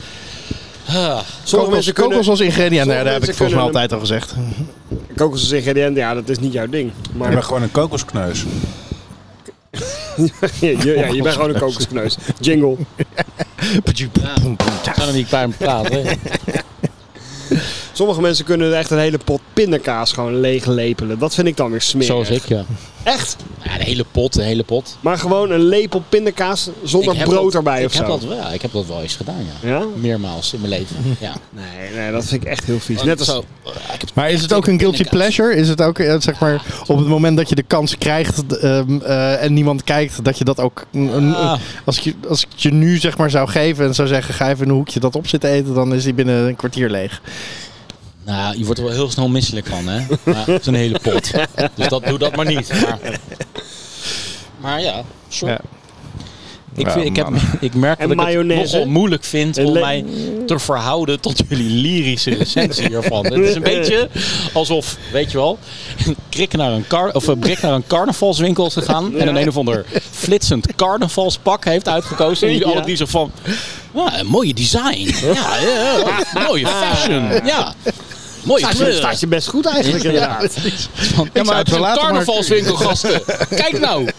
Speaker 3: kokos,
Speaker 2: mensen kunnen,
Speaker 3: kokos als ingrediënt. Nee,
Speaker 2: sommige
Speaker 3: dat heb
Speaker 2: mensen
Speaker 3: ik volgens mij
Speaker 2: kunnen
Speaker 3: altijd al gezegd.
Speaker 2: kokos als ingrediënt, ja, dat is niet jouw ding.
Speaker 6: Ik
Speaker 2: Maar
Speaker 6: ben gewoon een kokoskneus.
Speaker 2: je, je- ja, je bent gewoon een kokoskneus. Jingle.
Speaker 1: Ik kan er niet bij me praten. hè.
Speaker 2: Sommige mensen kunnen echt een hele pot pindakaas gewoon leeg lepelen. Dat vind ik dan weer smerig.
Speaker 1: Zoals ik, ja.
Speaker 2: Echt.
Speaker 1: Ja, de hele pot, de hele pot.
Speaker 2: Maar gewoon een lepel pindakaas zonder
Speaker 1: Ik heb
Speaker 2: brood
Speaker 1: dat-
Speaker 2: erbij
Speaker 1: ik
Speaker 2: of
Speaker 1: heb
Speaker 2: zo.
Speaker 1: Dat, wel- ja, ik heb dat wel eens gedaan, ja.
Speaker 2: Ja?
Speaker 1: Meermaals in mijn leven. Ja.
Speaker 2: Nee, nee, dat vind ik echt heel vies. Dus Net als...
Speaker 1: Zo, eh, ik heb-
Speaker 3: Maar is het ook een guilty pleasure? Is het ook, eh, zeg maar, op het moment dat je de kans krijgt ehm, eh, en niemand kijkt, dat je dat ook... een- een-
Speaker 1: Ah.
Speaker 3: als, ik, je- als ik het je nu, zeg maar, zou geven en zou zeggen, ga even in een hoekje dat op zitten eten, dan is die binnen een kwartier leeg.
Speaker 1: Nou, je wordt er wel heel snel misselijk van, hè? Ja, het is een hele pot. Dus dat, doe dat maar niet. Maar, maar ja, sure.
Speaker 3: Ja.
Speaker 1: Ik, vind, ik, heb, ik merk
Speaker 2: En
Speaker 1: dat ik het
Speaker 2: mayonaise?
Speaker 1: nogal moeilijk vind
Speaker 2: En
Speaker 1: om
Speaker 2: le-
Speaker 1: mij te verhouden tot jullie lyrische recensie hiervan. Het is een beetje alsof, weet je wel, een, krik naar een, car, of een brik naar een carnavalswinkel is gegaan en een een of ander flitsend carnavalspak heeft uitgekozen. En jullie
Speaker 2: Ja.
Speaker 1: alle die zo van, "Wauw, een mooie design. Ja, ja, ja, mooie
Speaker 2: Ah.
Speaker 1: fashion. Ja. Mooie
Speaker 2: Staat je,
Speaker 1: kleuren.
Speaker 2: staat je best goed eigenlijk inderdaad.
Speaker 1: Ja, maar
Speaker 3: zou
Speaker 1: het
Speaker 3: het
Speaker 1: is een
Speaker 3: wel laten, maar-
Speaker 1: carnavalswinkel, gasten. Kijk nou.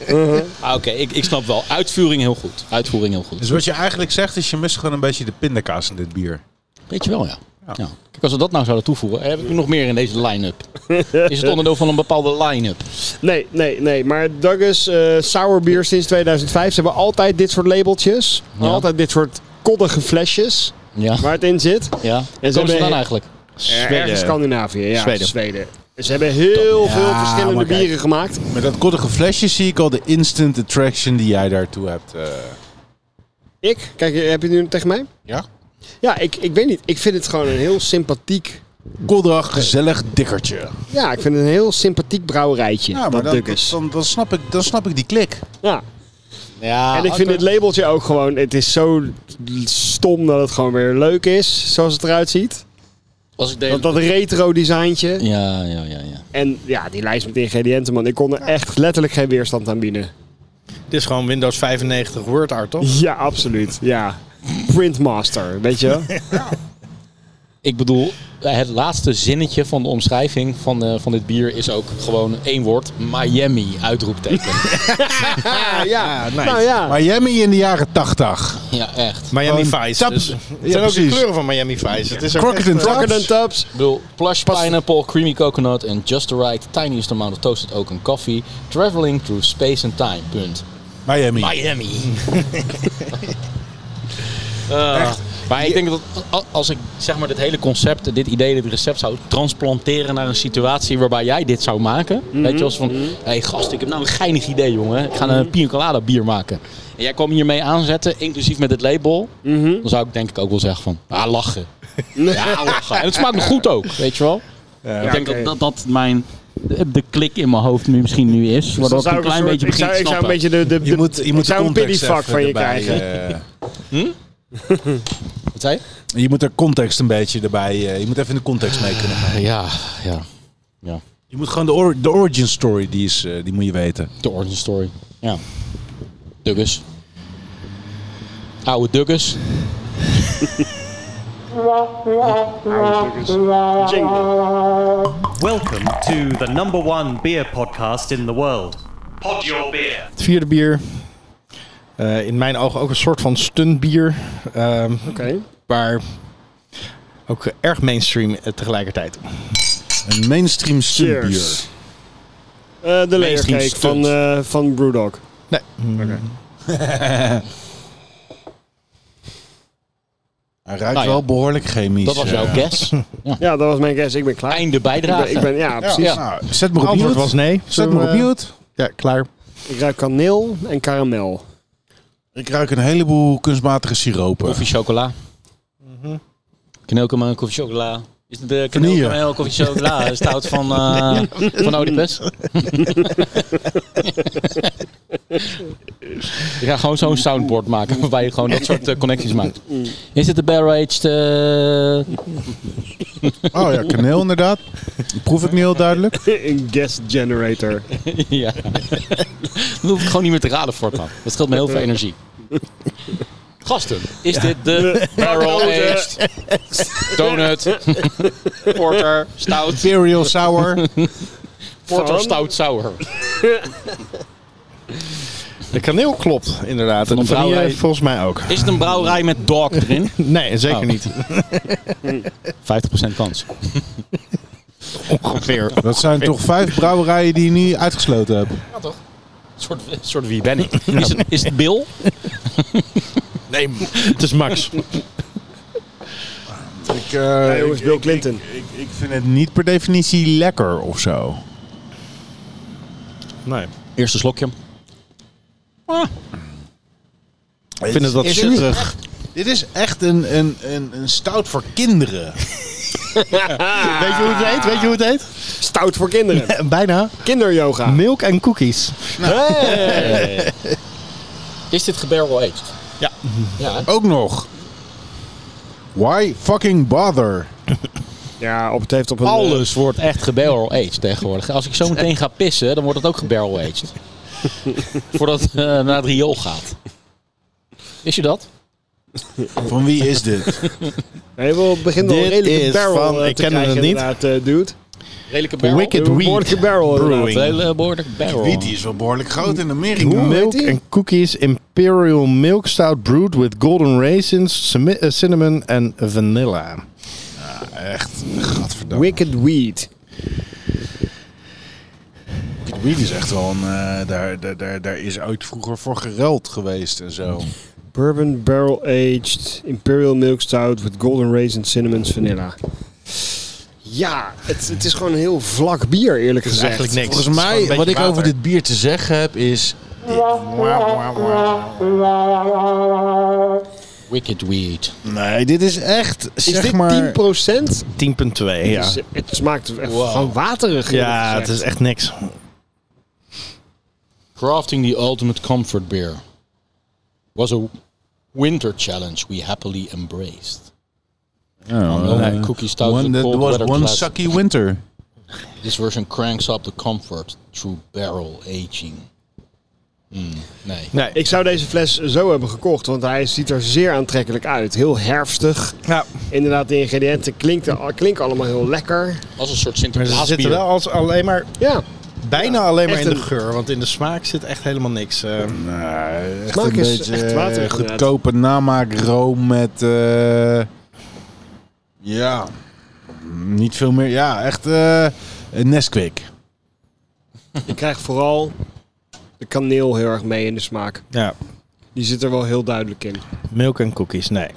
Speaker 1: Ah, Oké, ik, ik snap wel. Uitvoering heel goed. Uitvoering heel goed.
Speaker 6: Dus wat je eigenlijk zegt is, je mist gewoon een beetje de pindakaas in dit bier.
Speaker 1: Weet je wel, ja. Ja. Kijk, als we dat nou zouden toevoegen, heb ik nog meer in deze line-up. Is het onderdeel van een bepaalde line-up?
Speaker 2: Nee, nee, nee. Maar Douglas, eh sour beer sinds 2005. Ze hebben altijd dit soort labeltjes.
Speaker 1: Ja.
Speaker 2: Altijd dit soort koddige flesjes
Speaker 1: Ja.
Speaker 2: waar het in zit.
Speaker 1: ja. Komen ze
Speaker 2: hebben-
Speaker 1: dan eigenlijk?
Speaker 2: Ergens Scandinavië, ja.
Speaker 8: Zweden.
Speaker 2: Ze hebben heel veel
Speaker 6: Ja,
Speaker 2: verschillende
Speaker 6: maar kijk.
Speaker 2: bieren gemaakt.
Speaker 6: Met dat koddige flesje zie ik al de instant attraction die jij daartoe hebt. eh.
Speaker 2: Ik? Kijk, eh, heb je het nu tegen mij?
Speaker 6: ja?
Speaker 2: Ja, ik, ik weet niet. Ik vind het gewoon een heel sympathiek...
Speaker 6: Koddig, gezellig dikkertje.
Speaker 2: Ja, ik vind het een heel sympathiek brouwerijtje.
Speaker 6: Ja, maar
Speaker 2: dat
Speaker 6: dan,
Speaker 2: Douglas.
Speaker 6: dan, dan, snap ik, dan snap ik die klik.
Speaker 2: Ja. Ah,
Speaker 1: Ja,
Speaker 2: En ik vind dit labeltje ook gewoon... Het is zo stom dat het gewoon weer leuk is, zoals het eruit ziet.
Speaker 1: als ik deze...
Speaker 2: Dat, dat retro designtje.
Speaker 1: Ja, ja, ja, ja.
Speaker 2: En ja, die lijst met ingrediënten, man. Ik kon er echt letterlijk geen weerstand aan bieden.
Speaker 3: Dit is gewoon Windows 95 Word Art, toch?
Speaker 2: Ja, absoluut. Ja. Printmaster, weet je wel?
Speaker 1: Ik bedoel, eh, het laatste zinnetje van de omschrijving van, de, van dit bier is ook gewoon één woord. Miami, uitroepteken.
Speaker 2: Ah, ja.
Speaker 3: nice.
Speaker 2: Nou ja.
Speaker 6: Miami in de jaren 80.
Speaker 1: ja, echt.
Speaker 3: Miami
Speaker 6: Gewoon
Speaker 3: Vice.
Speaker 6: tap-
Speaker 3: Dus.
Speaker 6: Ja,
Speaker 3: Het zijn ook de
Speaker 6: precies.
Speaker 3: kleuren van Miami Vice. Het is ook
Speaker 6: Crockett
Speaker 3: echt,
Speaker 6: and
Speaker 3: eh,
Speaker 2: Rocket and Tubs.
Speaker 1: Ik bedoel, plush pineapple, creamy coconut en just the right tiniest amount of toasted oak and coffee. Traveling through space and time. Punt.
Speaker 6: Miami.
Speaker 1: Miami. Eh, Maar ik denk dat a- als ik zeg maar dit hele concept, dit idee, dit recept zou transplanteren naar een situatie waarbij jij dit zou maken.
Speaker 2: Mhm,
Speaker 1: Weet je, als van, hey, gast, ik heb nou een geinig idee, jongen. Ik ga een pina colada bier maken. En jij kwam hiermee aanzetten, inclusief met het label.
Speaker 2: Mhm.
Speaker 1: Dan zou ik denk ik ook wel zeggen van, ah, lachen. ja, lachen. En het smaakt me goed ook, weet je wel. ik denk
Speaker 2: oké.
Speaker 1: dat, dat dat mijn, de klik in mijn hoofd nu misschien nu is. Waardoor
Speaker 2: Dus Dan
Speaker 1: ik een klein
Speaker 2: soort-
Speaker 1: beetje
Speaker 2: ik
Speaker 1: begin
Speaker 2: zou,
Speaker 1: te
Speaker 2: ik zou
Speaker 1: snappen.
Speaker 2: een beetje de, de, de,
Speaker 6: Je moet, je
Speaker 2: ik
Speaker 6: moet de
Speaker 2: zou een
Speaker 6: context
Speaker 2: piddyvak
Speaker 6: even
Speaker 2: van je
Speaker 6: erbij,
Speaker 2: krijgen.
Speaker 6: eh,
Speaker 1: Wat zei je?
Speaker 6: je moet er context een beetje erbij. eh, je moet even de context mee kunnen gaan.
Speaker 1: Eh, Ja, ja. ja.
Speaker 6: Je moet gewoon de, or- de origin story, die, is, eh, die moet je weten.
Speaker 1: De origin story. Ja. Douglas. Oude Douglas.
Speaker 2: Oh,
Speaker 4: Welcome to the number one beer podcast in the world. Pod your beer.
Speaker 3: Het vierde bier. Eh, in mijn ogen ook een soort van stuntbier. Ehm
Speaker 2: Oké.
Speaker 3: maar ook eh, erg mainstream eh, tegelijkertijd.
Speaker 6: Een mainstream
Speaker 2: Cheers.
Speaker 6: stuntbier.
Speaker 2: Eh, de
Speaker 1: Mainstream
Speaker 2: layer van,
Speaker 1: stunt.
Speaker 2: eh van Brewdog.
Speaker 3: Nee.
Speaker 6: Hij ruikt
Speaker 1: Nou ja.
Speaker 6: wel behoorlijk chemisch.
Speaker 1: Dat was jouw
Speaker 6: eh.
Speaker 1: guess.
Speaker 2: Ja, dat was mijn guess. Ik ben klaar.
Speaker 1: Einde
Speaker 2: ik ben,
Speaker 1: bijdrage.
Speaker 2: ik ben, ja, precies.
Speaker 1: Ja.
Speaker 6: Nou, zet maar op
Speaker 3: Antwoord
Speaker 6: mute.
Speaker 3: was nee.
Speaker 6: Zet maar op
Speaker 3: Eh,
Speaker 6: mute.
Speaker 3: Ja, klaar.
Speaker 2: Ik ruik kaneel en karamel.
Speaker 6: Ik ruik een heleboel kunstmatige siropen.
Speaker 1: Koffie chocola.
Speaker 2: Mhm.
Speaker 1: Knelkema, koffie chocola. Is het de
Speaker 6: Vanille.
Speaker 1: knelkema, koffie chocola? Is het hout van, eh van Oedipus? Ik ga gewoon zo'n soundboard maken waarbij je gewoon dat soort eh, connecties maakt. Is het de eh, barrage?
Speaker 6: Oh ja, kaneel inderdaad. Die proef ik niet heel duidelijk.
Speaker 2: een guess generator.
Speaker 1: ja. Dan hoef ik gewoon niet meer te raden voortaan. Dat scheelt me heel veel energie. Gasten, is dit de barrel aged donut porter stout
Speaker 6: Imperial sour.
Speaker 1: porter
Speaker 2: Van?
Speaker 1: stout sour?
Speaker 3: De kaneel klopt inderdaad. En
Speaker 1: een
Speaker 3: de vanille
Speaker 1: brouwerij.
Speaker 3: volgens mij ook.
Speaker 1: Is het een brouwerij met dog erin? 50%
Speaker 3: eh, Nee, zeker
Speaker 1: Oh.
Speaker 3: niet.
Speaker 1: kans.
Speaker 3: Ongeveer.
Speaker 6: Dat zijn toch vijf brouwerijen die je nu uitgesloten hebt.
Speaker 1: Een soort, soort wie ben ik? Is het, is het Bill?
Speaker 3: Nee, het is Max.
Speaker 6: Ik, eh,
Speaker 2: Hey, jongens,
Speaker 6: ik-
Speaker 2: Bill Clinton.
Speaker 6: ik, ik vind het niet per definitie lekker of zo.
Speaker 3: Nee.
Speaker 1: Eerste slokje.
Speaker 6: Ik
Speaker 3: vind het wat zitterig.
Speaker 6: Dit is echt een, een, een, een stout voor kinderen.
Speaker 3: Weet je hoe het heet? Weet je hoe het heet?
Speaker 2: Stout voor kinderen.
Speaker 3: Bijna.
Speaker 2: Kinderyoga.
Speaker 3: Ah. Milk en cookies.
Speaker 1: Is dit gebarrel aged?
Speaker 3: Ja.
Speaker 1: Ja.
Speaker 6: Ook nog. Why fucking bother?
Speaker 2: Ja, op het heeft op een...
Speaker 1: Alles wordt echt gebarrel aged tegenwoordig. Als ik zo meteen ga pissen, dan wordt het ook gebarrel aged. Voordat het eh, naar het riool gaat. Is je dat?
Speaker 6: Van wie is dit?
Speaker 2: eh, nee, we beginnen wel een
Speaker 3: Dit
Speaker 2: redelijke
Speaker 3: is
Speaker 2: barrel
Speaker 3: van-
Speaker 2: eh, te
Speaker 3: ik ken
Speaker 2: krijgen
Speaker 3: het niet.
Speaker 2: inderdaad, eh, dude.
Speaker 1: Redelijke barrel.
Speaker 3: Wicked
Speaker 2: Een
Speaker 3: Weed
Speaker 2: behoorlijke barrel inderdaad.
Speaker 1: Een hele behoorlijke barrel.
Speaker 6: Wiet die is wel behoorlijk groot in Amerika.
Speaker 3: Milk
Speaker 2: heet die?
Speaker 3: and Cookies Imperial Milk Stout brewed with golden raisins, cimi- eh, cinnamon en vanilla. Echt, gadverdamme.
Speaker 2: Wicked Weed.
Speaker 6: Wicked Weed is echt wel een... eh, daar, daar, daar, daar is ooit vroeger voor geruild geweest en zo.
Speaker 2: Bourbon Barrel Aged Imperial Milk Stout with Golden Raisin Cinnamon Vanilla. Ja, het, het is gewoon een heel vlak bier eerlijk gezegd.
Speaker 3: Eigenlijk niks.
Speaker 6: Volgens
Speaker 3: Het is
Speaker 6: mij,
Speaker 3: gewoon
Speaker 6: wat
Speaker 3: een
Speaker 6: ik
Speaker 3: beetje
Speaker 6: over
Speaker 3: water.
Speaker 6: dit bier te zeggen heb, is...
Speaker 1: Wicked Weed.
Speaker 6: Nee, dit is echt,
Speaker 2: Is
Speaker 6: zeg
Speaker 2: dit
Speaker 6: maar...
Speaker 3: 10.2,
Speaker 2: 10%?
Speaker 3: ja.
Speaker 2: Dus het smaakt echt gewoon waterig. eerlijk
Speaker 3: Ja, het
Speaker 2: gezegd.
Speaker 3: is echt niks.
Speaker 1: Crafting the ultimate comfort beer was a winter challenge we happily embraced.
Speaker 6: Oh,
Speaker 1: Nee, cookie stout
Speaker 6: one
Speaker 1: with
Speaker 6: that
Speaker 1: cold
Speaker 6: was
Speaker 1: weather
Speaker 6: one
Speaker 1: classic.
Speaker 6: sucky winter.
Speaker 1: This version cranks up the comfort through barrel aging. Mm, nee.
Speaker 3: Nee.
Speaker 2: Ik zou deze fles zo hebben gekocht, want hij ziet er zeer aantrekkelijk uit. Heel herfstig.
Speaker 3: Ja,
Speaker 2: Inderdaad, de ingrediënten klinken, klinken allemaal heel lekker.
Speaker 1: Als een soort
Speaker 3: maar ze
Speaker 1: Sinterklaasbier.
Speaker 3: zitten wel als alleen maar,
Speaker 2: Ja,
Speaker 3: bijna alleen maar
Speaker 2: echt
Speaker 3: in de
Speaker 2: een-
Speaker 3: geur. Want in de smaak zit echt helemaal niks. eh.
Speaker 6: Nee, echt
Speaker 2: Smaak
Speaker 6: een
Speaker 2: is
Speaker 6: beetje
Speaker 2: echt waterig,
Speaker 6: eh, goedkope namaakroom met... eh, ja, niet veel meer. Ja, echt eh een Nesquik.
Speaker 2: ik krijg vooral de kaneel heel erg mee in de smaak.
Speaker 3: ja,
Speaker 2: Die zit er wel heel duidelijk in.
Speaker 3: milk en cookies, nee.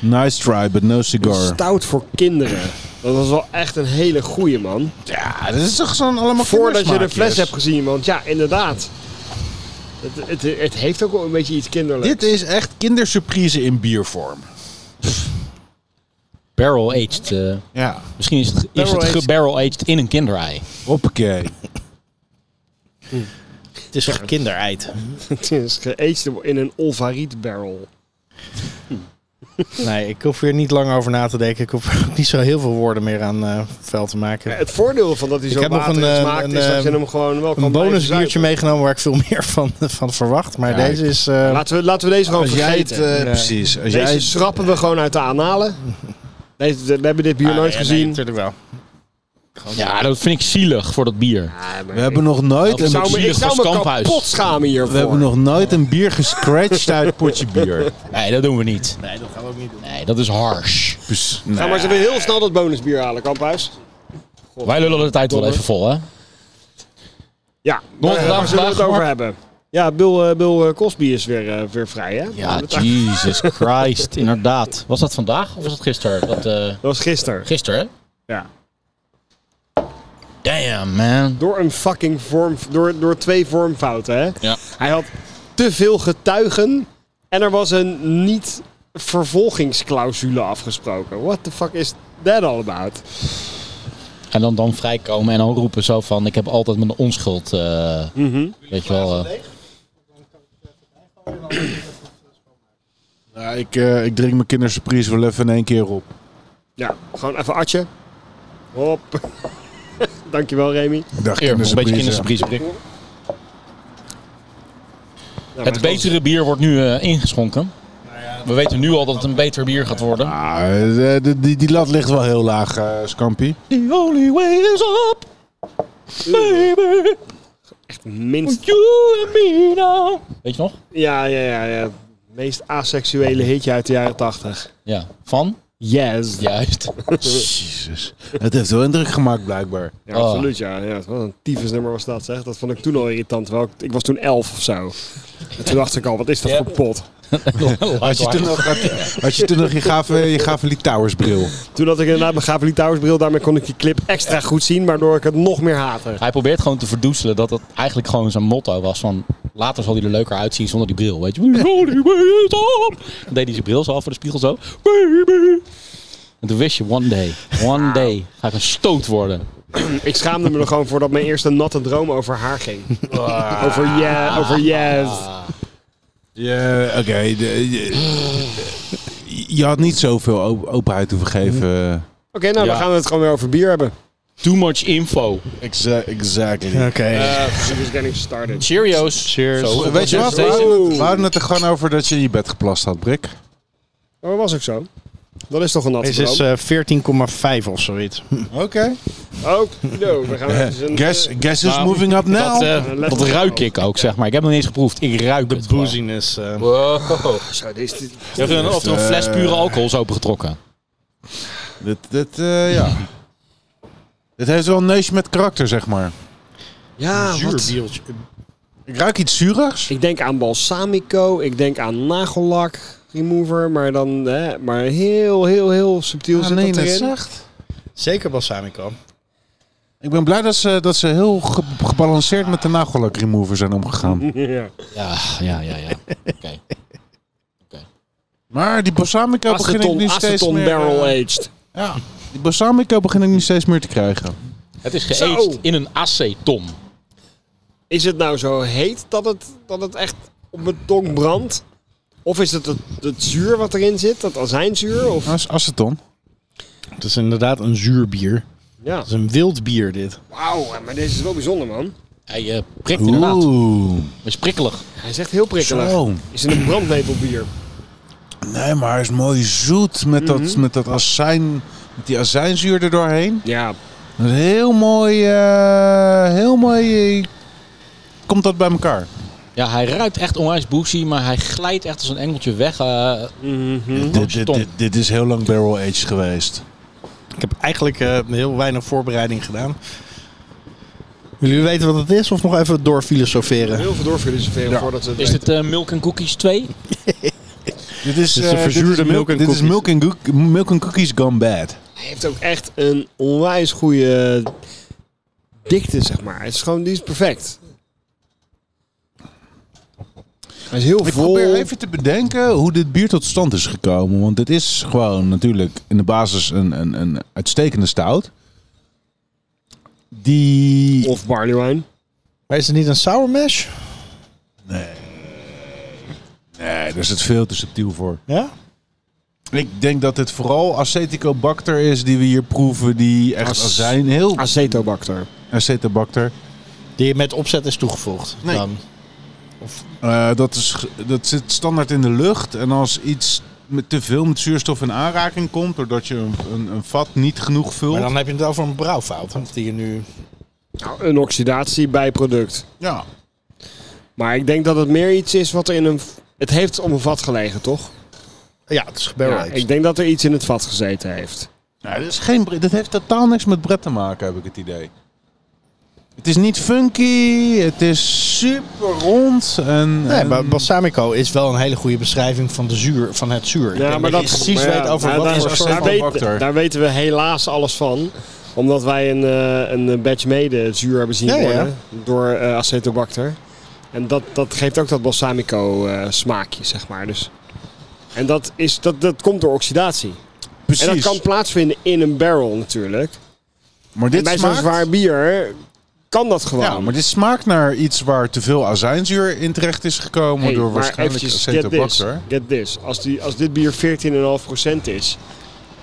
Speaker 6: Nice try, but no cigar.
Speaker 2: Stout voor kinderen. Dat was wel echt een hele goeie, man.
Speaker 6: Ja, dit is toch zo'n allemaal
Speaker 2: Voordat je de
Speaker 6: kindersmaakjes?
Speaker 2: fles hebt gezien, want ja, inderdaad. Het, het, het heeft ook wel een beetje iets kinderlijks.
Speaker 6: Dit is echt kindersurprise in biervorm.
Speaker 1: Barrel aged. eh,
Speaker 6: Ja.
Speaker 1: misschien is het, is het
Speaker 2: Barrel-aged.
Speaker 1: ge- barrel aged in een kinderei.
Speaker 6: Hoppakee.
Speaker 3: Het is echt kindereit.
Speaker 2: Het is geaged in een olvariet barrel.
Speaker 3: Nee, ik hoef hier niet lang over na te denken. Ik hoef er ook niet zo heel veel woorden meer aan eh vuil te maken.
Speaker 2: Het voordeel van dat hij
Speaker 3: Ik
Speaker 2: zo
Speaker 3: heb nog
Speaker 2: waterig
Speaker 3: een, eh,
Speaker 2: smaakt is
Speaker 3: een,
Speaker 2: dat je
Speaker 3: eh,
Speaker 2: hem gewoon wel kan
Speaker 3: een
Speaker 2: blijven
Speaker 3: bonus biertje
Speaker 2: zuipen.
Speaker 3: meegenomen waar ik veel meer van, van verwacht. Maar
Speaker 6: Kijk.
Speaker 3: deze is... eh,
Speaker 2: Laten we, laten we deze gewoon
Speaker 6: Als jij het...
Speaker 2: vergeten.
Speaker 6: eh,
Speaker 3: Ja.
Speaker 6: Precies. Als
Speaker 2: deze
Speaker 6: jij het-
Speaker 2: schrappen we gewoon uit de aanhalen. Deze, we hebben dit bier
Speaker 3: ah,
Speaker 2: nooit
Speaker 3: nee, nee,
Speaker 2: gezien.
Speaker 3: Natuurlijk wel. Oh,
Speaker 1: Ja, dat vind ik zielig voor dat bier.
Speaker 2: Ja, maar
Speaker 6: we hebben nog nooit
Speaker 1: Dat
Speaker 6: een,
Speaker 1: zou
Speaker 2: zou me, ik
Speaker 1: zielig
Speaker 2: zou
Speaker 1: van
Speaker 2: me
Speaker 1: Kamphuis.
Speaker 2: kapot schamen hiervoor.
Speaker 6: we hebben nog nooit een bier gescratcht uit het potje bier.
Speaker 1: Nee, dat doen we niet.
Speaker 3: Nee, dat gaan we ook niet doen.
Speaker 1: Nee, dat is harsh.
Speaker 6: Dus,
Speaker 2: Ga maar eens even heel snel dat bonusbier halen, Kamphuis.
Speaker 1: Wij lullen de tijd wel
Speaker 2: Domme.
Speaker 1: even vol, hè?
Speaker 2: Ja,
Speaker 1: Nog
Speaker 2: daar
Speaker 1: een
Speaker 2: daar
Speaker 1: dag
Speaker 2: zullen we het
Speaker 1: vandaag,
Speaker 2: over
Speaker 1: Mark?
Speaker 2: hebben. Ja, Bill, eh, Bill eh, Cosby is weer, eh, weer vrij, hè?
Speaker 1: Ja,
Speaker 2: dat
Speaker 1: Jesus Christ, inderdaad. Was dat vandaag of was dat gisteren? Dat, eh,
Speaker 2: was gisteren.
Speaker 1: gisteren, hè?
Speaker 2: Ja.
Speaker 1: Damn, man.
Speaker 2: Door een fucking vorm... Door, door twee vormfouten, hè?
Speaker 1: Ja.
Speaker 2: Hij had te veel getuigen en er was een niet vervolgingsclausule afgesproken. What the fuck is that all about?
Speaker 1: En dan, dan vrijkomen en dan roepen zo van... Ik heb altijd mijn onschuld, eh,
Speaker 3: Mhm.
Speaker 1: weet je wel... eh.
Speaker 6: Nou, ik, eh, ik drink mijn kindersurprise wel even in één keer op.
Speaker 2: Ja, gewoon even atje. Hop. Dankjewel, Remy.
Speaker 6: Dag,
Speaker 1: Eer, een beetje kindersurprise.
Speaker 2: Nou,
Speaker 1: Het betere bier wordt nu eh, ingeschonken.
Speaker 3: Nou
Speaker 1: We weten nu al dat het een beter bier gaat worden.
Speaker 6: Ah, de- de- die, die lat ligt wel heel laag, eh Scampi.
Speaker 1: The only way is up, baby.
Speaker 2: Echt minst...
Speaker 1: You and me now. Weet je nog?
Speaker 2: Ja, ja, ja, ja. Meest asexuele hitje uit de jaren tachtig.
Speaker 1: Ja. Van?
Speaker 2: Yes.
Speaker 1: Juist.
Speaker 6: Jezus. Het heeft wel indruk gemaakt, blijkbaar.
Speaker 2: Ja,
Speaker 3: Ah.
Speaker 1: Oh.
Speaker 2: absoluut, ja. ja. Wat een tyfusnummer was dat, zeg. Dat vond ik toen al irritant. Terwijl ik, ik was toen elf of zo. En toen dacht ik al, wat is dat
Speaker 1: Ja.
Speaker 2: voor pot?
Speaker 6: Had je toen nog, had, had je, toen nog je, gave, je gave Lee Towers bril?
Speaker 2: Toen had ik inderdaad mijn Gaveli Towers bril. Daarmee kon ik die clip extra goed zien, waardoor ik het nog meer haatte.
Speaker 1: Hij probeert gewoon te verdoezelen dat het eigenlijk gewoon zijn motto was van... Later zal hij er leuker uitzien zonder die bril, weet je. Holy way is up. Dan deed hij zijn bril zo af voor de spiegel zo. Baby. En toen wist je, one day, one day ga ik een stoot worden.
Speaker 2: Ik schaamde me er gewoon voor dat mijn eerste natte droom over haar ging.
Speaker 3: Ah.
Speaker 2: Over yeah, over yes.
Speaker 6: Ja, oké. de- je- je had niet zoveel op- openheid hoeven geven.
Speaker 2: Oké, nou
Speaker 1: Ja.
Speaker 2: dan gaan we het gewoon weer over bier hebben.
Speaker 1: Too much info.
Speaker 6: exactly.
Speaker 3: Oké.
Speaker 2: She was Eh, dus getting started.
Speaker 1: Cheerios.
Speaker 3: Cheers.
Speaker 1: Zo,
Speaker 6: Weet je wat? We
Speaker 1: Deze-
Speaker 6: houden het- we houden het er gewoon over dat je in je bed geplast had, Brik.
Speaker 2: Maar dat was ook zo. Dat is toch een natte
Speaker 3: Deze is
Speaker 2: droom?
Speaker 3: eh, 14,5 of zoiets.
Speaker 6: Oké.
Speaker 2: Ook, no, we gaan even een...
Speaker 6: Guess,
Speaker 2: eh,
Speaker 6: guess who's
Speaker 1: Nou,
Speaker 6: moving up now?
Speaker 1: Dat, eh,
Speaker 2: Let
Speaker 1: dat
Speaker 2: me
Speaker 1: ruik
Speaker 2: know.
Speaker 1: ik ook, zeg maar. Ik heb nog niet eens geproefd. Ik ruik
Speaker 3: De
Speaker 1: het gewoon.
Speaker 3: booziness. eh.
Speaker 1: Wow.
Speaker 2: zo, deze,
Speaker 1: Je hebt er een, of er een fles pure alcohol is opengetrokken.
Speaker 6: Dit, dit eh, ja. dit heeft wel een neusje met karakter, zeg maar.
Speaker 2: Ja,
Speaker 3: Zuur
Speaker 2: wat?
Speaker 3: biertje.
Speaker 6: Ik ruik iets zuurigs.
Speaker 2: Ik denk aan balsamico, ik denk aan nagellak remover, maar dan hè, maar heel, heel, heel subtiel
Speaker 6: Ah,
Speaker 2: zit
Speaker 6: nee,
Speaker 2: dat
Speaker 6: dat
Speaker 2: erin.
Speaker 6: zacht.
Speaker 3: Zeker balsamico.
Speaker 6: Ik ben blij dat ze, dat ze heel ge- gebalanceerd met de nagellak remover zijn omgegaan.
Speaker 2: Ja.
Speaker 1: Ja, ja, ja, ja. Oké.
Speaker 6: Maar die balsamico begin ik
Speaker 2: Aceton,
Speaker 6: nu steeds
Speaker 2: aceton
Speaker 6: meer...
Speaker 2: barrel
Speaker 6: eh,
Speaker 2: aged.
Speaker 6: ja, die balsamico begin ik nu steeds meer te krijgen.
Speaker 1: Het is
Speaker 2: Zo.
Speaker 1: geëetst in een aceton.
Speaker 2: Is het nou zo heet dat het, dat het echt op mijn tong brandt? Of is het het, het zuur wat erin zit, dat azijnzuur? Of?
Speaker 6: Dat is aceton.
Speaker 3: Het is inderdaad een zuur bier. Het
Speaker 2: Ja.
Speaker 3: is een wild bier dit.
Speaker 2: Wauw, maar deze is wel bijzonder, man.
Speaker 1: Hij eh, prikt inderdaad. Hij
Speaker 6: Oeh.
Speaker 1: is prikkelig.
Speaker 2: Hij is echt heel prikkelig.
Speaker 6: Zo.
Speaker 2: Is in een brandnetelbier.
Speaker 6: Nee, maar hij is mooi zoet met dat, met dat azijn, met die azijnzuur er doorheen.
Speaker 2: Ja.
Speaker 6: Dat is heel mooi, eh, heel mooi eh, komt dat bij elkaar.
Speaker 1: Ja, hij ruikt echt onwijs boozy, maar hij glijdt echt als een engeltje weg. eh,
Speaker 6: Dit, dit, dit, dit is heel lang barrel aged geweest.
Speaker 3: Ik heb eigenlijk eh, heel weinig voorbereiding gedaan. Willen jullie weten wat het is of nog even doorfilosoferen?
Speaker 2: Heel veel doorfilosoferen voordat ze het
Speaker 1: is dit eh, Milk and Cookies 2?
Speaker 6: Dit is,
Speaker 3: Dit is
Speaker 6: eh,
Speaker 3: de verzuurde
Speaker 6: dit is
Speaker 3: milk and
Speaker 6: Dit is
Speaker 3: cookies.
Speaker 6: milk and, gook- milk and cookies gone bad.
Speaker 2: Hij heeft ook echt een onwijs goede dikte, zeg maar. Het is gewoon, die is perfect. Hij is heel
Speaker 6: Ik
Speaker 2: vol.
Speaker 6: probeer even te bedenken hoe dit bier tot stand is gekomen. Want dit is gewoon natuurlijk in de basis een, een, een uitstekende stout. Die...
Speaker 2: Of barley wine.
Speaker 3: Maar is het niet een sour mash?
Speaker 6: Nee, daar zit veel te subtiel voor.
Speaker 3: Ja?
Speaker 6: Ik denk dat het vooral Acetobacter is die we hier proeven. Die echt
Speaker 2: As-
Speaker 6: azijn, heel
Speaker 2: Acetobacter.
Speaker 6: Acetobacter.
Speaker 3: Die je met opzet is toegevoegd.
Speaker 6: Nee.
Speaker 3: Dan.
Speaker 6: Eh, dat, is, ge- dat zit standaard in de lucht. En als iets met te veel met zuurstof in aanraking komt, doordat je een, een, een vat niet genoeg vult.
Speaker 3: Maar dan heb je het over een brouwfout. Of die je nu...
Speaker 2: Nou, een oxidatie bijproduct.
Speaker 6: Ja.
Speaker 2: Maar ik denk dat het meer iets is wat er in een... Het heeft om een vat gelegen, toch?
Speaker 3: Ja, het is barrel
Speaker 2: Ja, ik denk dat er iets in het vat gezeten heeft.
Speaker 6: Nou, dit, is geen, bre- dit heeft totaal niks met Brett te maken, heb ik het idee. Het is niet funky, het is super rond. En,
Speaker 3: Nee,
Speaker 6: en-
Speaker 3: maar balsamico is wel een hele goede beschrijving van, de zuur, van het zuur. Ik denk je precies
Speaker 2: maar ja,
Speaker 3: weet over
Speaker 2: nou,
Speaker 3: wat
Speaker 2: daar,
Speaker 3: voor
Speaker 2: daar
Speaker 3: soort van-
Speaker 6: weet-
Speaker 2: weten-
Speaker 6: bakter.
Speaker 2: daar weten we helaas alles van. Omdat wij een, eh, een batch mede zuur hebben zien
Speaker 3: Ja, ja.
Speaker 2: worden door eh, acetobacter. En dat, dat geeft ook dat balsamico eh, smaakje, zeg maar. Dus. En dat, is, dat, dat komt door oxidatie.
Speaker 6: precies.
Speaker 2: En dat kan plaatsvinden in een barrel natuurlijk.
Speaker 6: maar
Speaker 2: En
Speaker 6: dit
Speaker 2: bij
Speaker 6: smaakt,
Speaker 2: zo'n zwaar bier kan dat gewoon.
Speaker 6: ja, maar dit smaakt naar iets waar te veel azijnzuur in terecht is gekomen
Speaker 2: Hey,
Speaker 6: door
Speaker 2: maar
Speaker 6: waarschijnlijk
Speaker 2: eventjes, get this,
Speaker 6: acetobacter.
Speaker 2: get this. Als, die, als dit bier 14,5% is.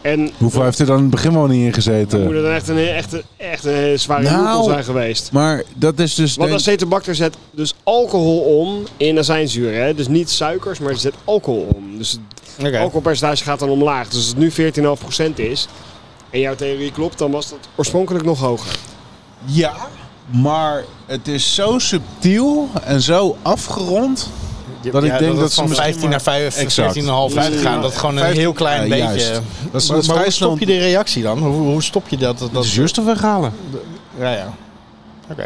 Speaker 2: En
Speaker 6: Hoeveel heeft er dan in het begin wel niet in
Speaker 2: Dan moet
Speaker 6: gezeten?
Speaker 2: het dan echt een, echt een, echt een hele zware
Speaker 6: Nou.
Speaker 2: joekel zijn geweest.
Speaker 6: Maar dat is dus...
Speaker 2: Want
Speaker 6: denk-
Speaker 2: acetobacter zet dus alcohol om in azijnzuur. Hè? Dus niet suikers, maar het zet alcohol om. Dus het
Speaker 3: Oké.
Speaker 2: alcoholpercentage gaat dan omlaag. Dus als het nu 14,5% is en jouw theorie klopt, dan was dat oorspronkelijk nog hoger.
Speaker 6: Ja, maar het is zo subtiel en zo afgerond... Dat ik
Speaker 3: Ja,
Speaker 6: denk dat,
Speaker 3: het
Speaker 6: ze
Speaker 3: van
Speaker 6: misschien
Speaker 3: 15 naar
Speaker 6: maar-
Speaker 3: 5,
Speaker 6: Exact.
Speaker 3: 14,5 uitgaan. Dat gewoon een
Speaker 6: Vijftien-
Speaker 3: heel klein
Speaker 6: Ja,
Speaker 3: beetje...
Speaker 6: juist. Dat is
Speaker 3: Maar, maar
Speaker 6: vrij
Speaker 3: hoe
Speaker 6: snel
Speaker 3: stop je die reactie dan? Hoe, hoe stop je dat? dat,
Speaker 6: de
Speaker 3: dat
Speaker 6: zuurstof weghalen.
Speaker 3: Ja, ja. Oké.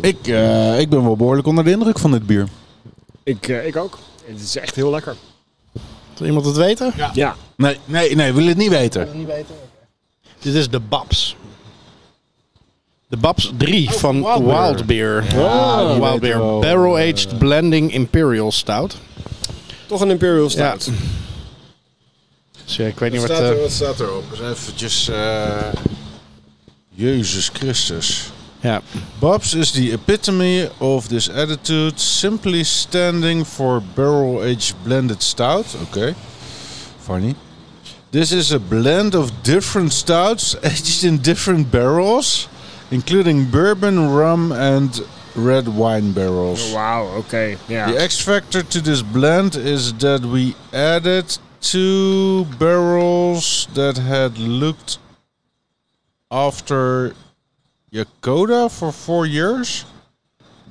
Speaker 6: Ik, eh, ik ben wel behoorlijk onder de indruk van dit bier.
Speaker 2: Ik, eh, ik ook. Het is echt heel lekker.
Speaker 3: Wil iemand het weten?
Speaker 2: Ja.
Speaker 6: Nee, nee, nee, wil het niet weten.
Speaker 3: Dit is de Babs. De Babs 3 van Wild, Beer.
Speaker 6: die
Speaker 3: Wild
Speaker 6: weten
Speaker 3: Beer.
Speaker 6: wel.
Speaker 3: Barrel Aged Blending Imperial Stout.
Speaker 2: Toch een Imperial Stout.
Speaker 3: Ja. Dus ja, ik weet niet wat... eh,
Speaker 6: staat erop? Eventjes... eh, Jezus Christus.
Speaker 3: ja.
Speaker 6: Babs is the epitome of this attitude, simply standing for barrel aged blended stout. Okay, funny. This is a blend of different stouts aged in different barrels, including bourbon, rum, and red wine barrels.
Speaker 2: Wauw, oké. Ja.
Speaker 6: The X factor to this blend is that we added two barrels that had looked after Yakoda for four years,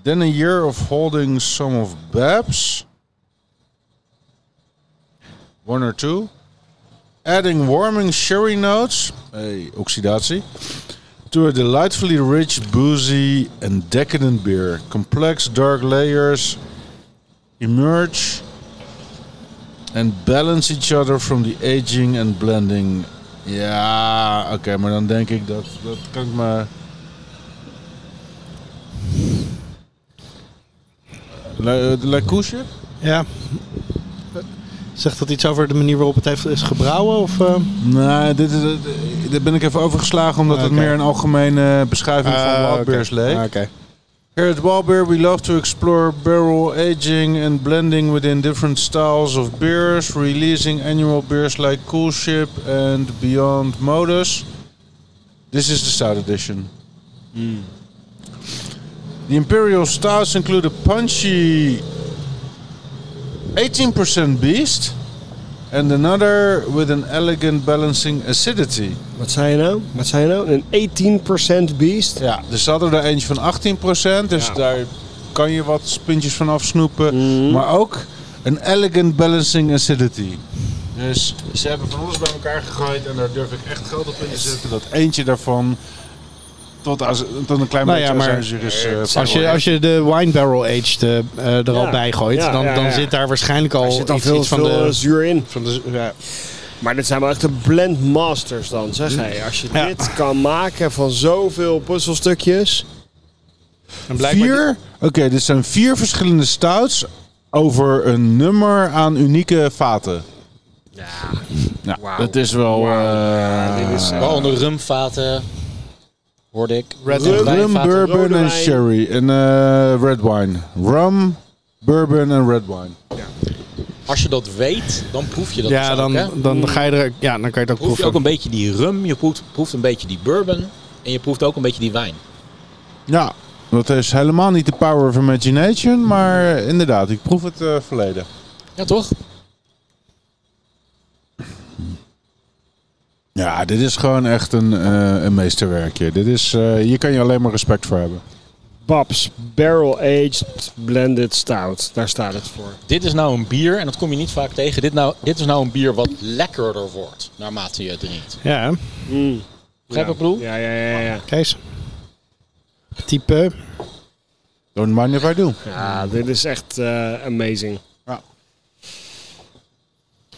Speaker 6: then a year of holding some of Babs, one or two, adding warming sherry notes, hey, oxidatie, to a delightfully rich, boozy and decadent beer. Complex dark layers emerge and balance each other from the aging and blending. Ja, oké, maar dan denk ik dat, dat kan ik me...
Speaker 3: eh,
Speaker 6: Le, Le Couche?
Speaker 3: Ja. Zegt dat iets over de manier waarop het heeft, is gebrouwen? Of, eh?
Speaker 6: Nee, dit, is, dit ben ik even overgeslagen omdat het
Speaker 3: Oké.
Speaker 6: meer een algemene beschrijving van
Speaker 3: Ah,
Speaker 6: Wild
Speaker 3: oké.
Speaker 6: Bears leek.
Speaker 3: Ah, oké.
Speaker 6: Here at Wallbeer, we love to explore barrel aging and blending within different styles of beers, releasing annual beers like Cool Ship and Beyond Modus. This is the Stout Edition. The Imperial Stouts include a punchy 18% Beast and another with an elegant balancing acidity.
Speaker 2: Wat zei je nou? Wat zei je nou? Een 18% beast.
Speaker 6: Ja, dus ze hadden er eentje van 18%, dus daar kan je wat puntjes van afsnoepen.
Speaker 3: Mhm.
Speaker 6: Maar ook een elegant balancing acidity. Dus ze hebben van alles bij elkaar gegooid en daar durf ik echt geld op in te zetten. Dat eentje daarvan tot, als, tot een klein
Speaker 3: Nou ja,
Speaker 6: beetje
Speaker 3: maar-
Speaker 6: azijnzuur is. eh,
Speaker 3: Als je,
Speaker 6: verloren.
Speaker 3: als je de wine barrel aged eh, eh, er al bij gooit,
Speaker 2: Ja,
Speaker 3: dan,
Speaker 2: ja,
Speaker 3: dan
Speaker 2: ja.
Speaker 3: zit daar waarschijnlijk al
Speaker 2: Er zit al
Speaker 3: iets,
Speaker 2: veel,
Speaker 3: iets van,
Speaker 2: veel, eh,
Speaker 3: de,
Speaker 2: zuur in.
Speaker 3: van de... Ja,
Speaker 2: Maar dit zijn wel echt de blend masters dan, zeg hij. Als je
Speaker 3: Ja.
Speaker 2: dit kan maken van zoveel puzzelstukjes.
Speaker 3: en blijkbaar-
Speaker 6: vier, oké, dit zijn vier verschillende stouts over een nummer aan unieke vaten. Ja, dat is wel... eh,
Speaker 1: Ah,
Speaker 2: dit is, eh,
Speaker 1: Waaronder rumvaten, hoorde ik.
Speaker 3: Red
Speaker 1: En
Speaker 3: Bull.
Speaker 1: wijnvaten.
Speaker 6: Rum, bourbon
Speaker 2: Rode
Speaker 6: en
Speaker 2: wijn.
Speaker 6: sherry. En eh, red wine. Rum, bourbon en red wine.
Speaker 1: Als je dat weet, dan proef je dat dus
Speaker 3: ja
Speaker 1: ook, hè?
Speaker 3: dan, dan ga je er... Ja, dan kan je het
Speaker 1: proef
Speaker 3: ook
Speaker 1: je
Speaker 3: proeven.
Speaker 1: ook een beetje die rum, je proeft, proeft een beetje die bourbon en je proeft ook een beetje die wijn.
Speaker 6: Ja, dat is helemaal niet de power of imagination, maar eh, inderdaad, ik proef het eh, verleden.
Speaker 1: Ja, toch?
Speaker 6: Ja, dit is gewoon echt een, eh, een meesterwerkje. Dit is, eh, hier kan je alleen maar respect voor hebben.
Speaker 2: Babs, Barrel Aged Blended Stout. Daar staat het voor.
Speaker 1: Dit is nou een bier, en dat kom je niet vaak tegen, dit, nou, dit is nou een bier wat lekkerder wordt naarmate je het drinkt.
Speaker 3: Ja, hè?
Speaker 1: Begrijp je wat ik bedoel?
Speaker 2: Ja, ja, ja, ja.
Speaker 3: Kees. Type.
Speaker 6: Don't mind if I do.
Speaker 2: Ja, Ah, dit is echt eh, amazing.
Speaker 6: Ja.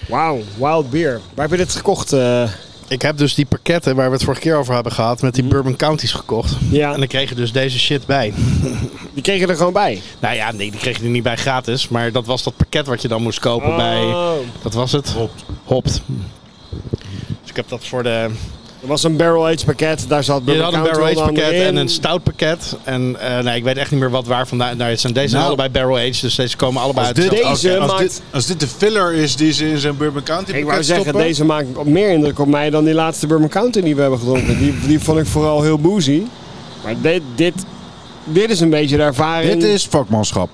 Speaker 2: Wauw, wild beer. Waar heb je dit gekocht? eh?
Speaker 3: Ik heb dus die pakketten waar we het vorige keer over hebben gehad met die Bourbon Counties gekocht.
Speaker 2: Mhm. Ja.
Speaker 3: En dan kreeg je dus deze shit bij.
Speaker 2: die kreeg je er gewoon bij.
Speaker 3: Nou ja, nee, die kreeg je er niet bij gratis. Maar dat was dat pakket wat je dan moest kopen bij...
Speaker 2: Oh,
Speaker 3: Wat was het? Hopt. Dus ik heb dat voor de...
Speaker 2: Er was een barrel aged pakket. Daar zat
Speaker 3: Je
Speaker 2: Bourbon
Speaker 3: had een
Speaker 2: County
Speaker 3: barrel aged
Speaker 2: onder andere
Speaker 3: pakket en
Speaker 2: in.
Speaker 3: een stout pakket. En eh, nee, ik weet echt niet meer wat waar vandaan. Nou, het zijn deze zijn
Speaker 6: Nou.
Speaker 3: allebei barrel aged, dus deze komen allebei uit.
Speaker 2: dit-
Speaker 3: hetzelfde-
Speaker 2: Deze
Speaker 6: oké, als,
Speaker 2: maakt-
Speaker 6: dit, als dit de filler is die ze in zijn Bourbon County
Speaker 2: Ik wou
Speaker 6: pakket
Speaker 2: zeggen,
Speaker 6: stoppen,
Speaker 2: deze maakt meer indruk op mij dan die laatste Bourbon County die we hebben gedronken. Die, die vond ik vooral heel boozy. Maar dit, dit, dit is een beetje de ervaring.
Speaker 6: dit is vakmanschap.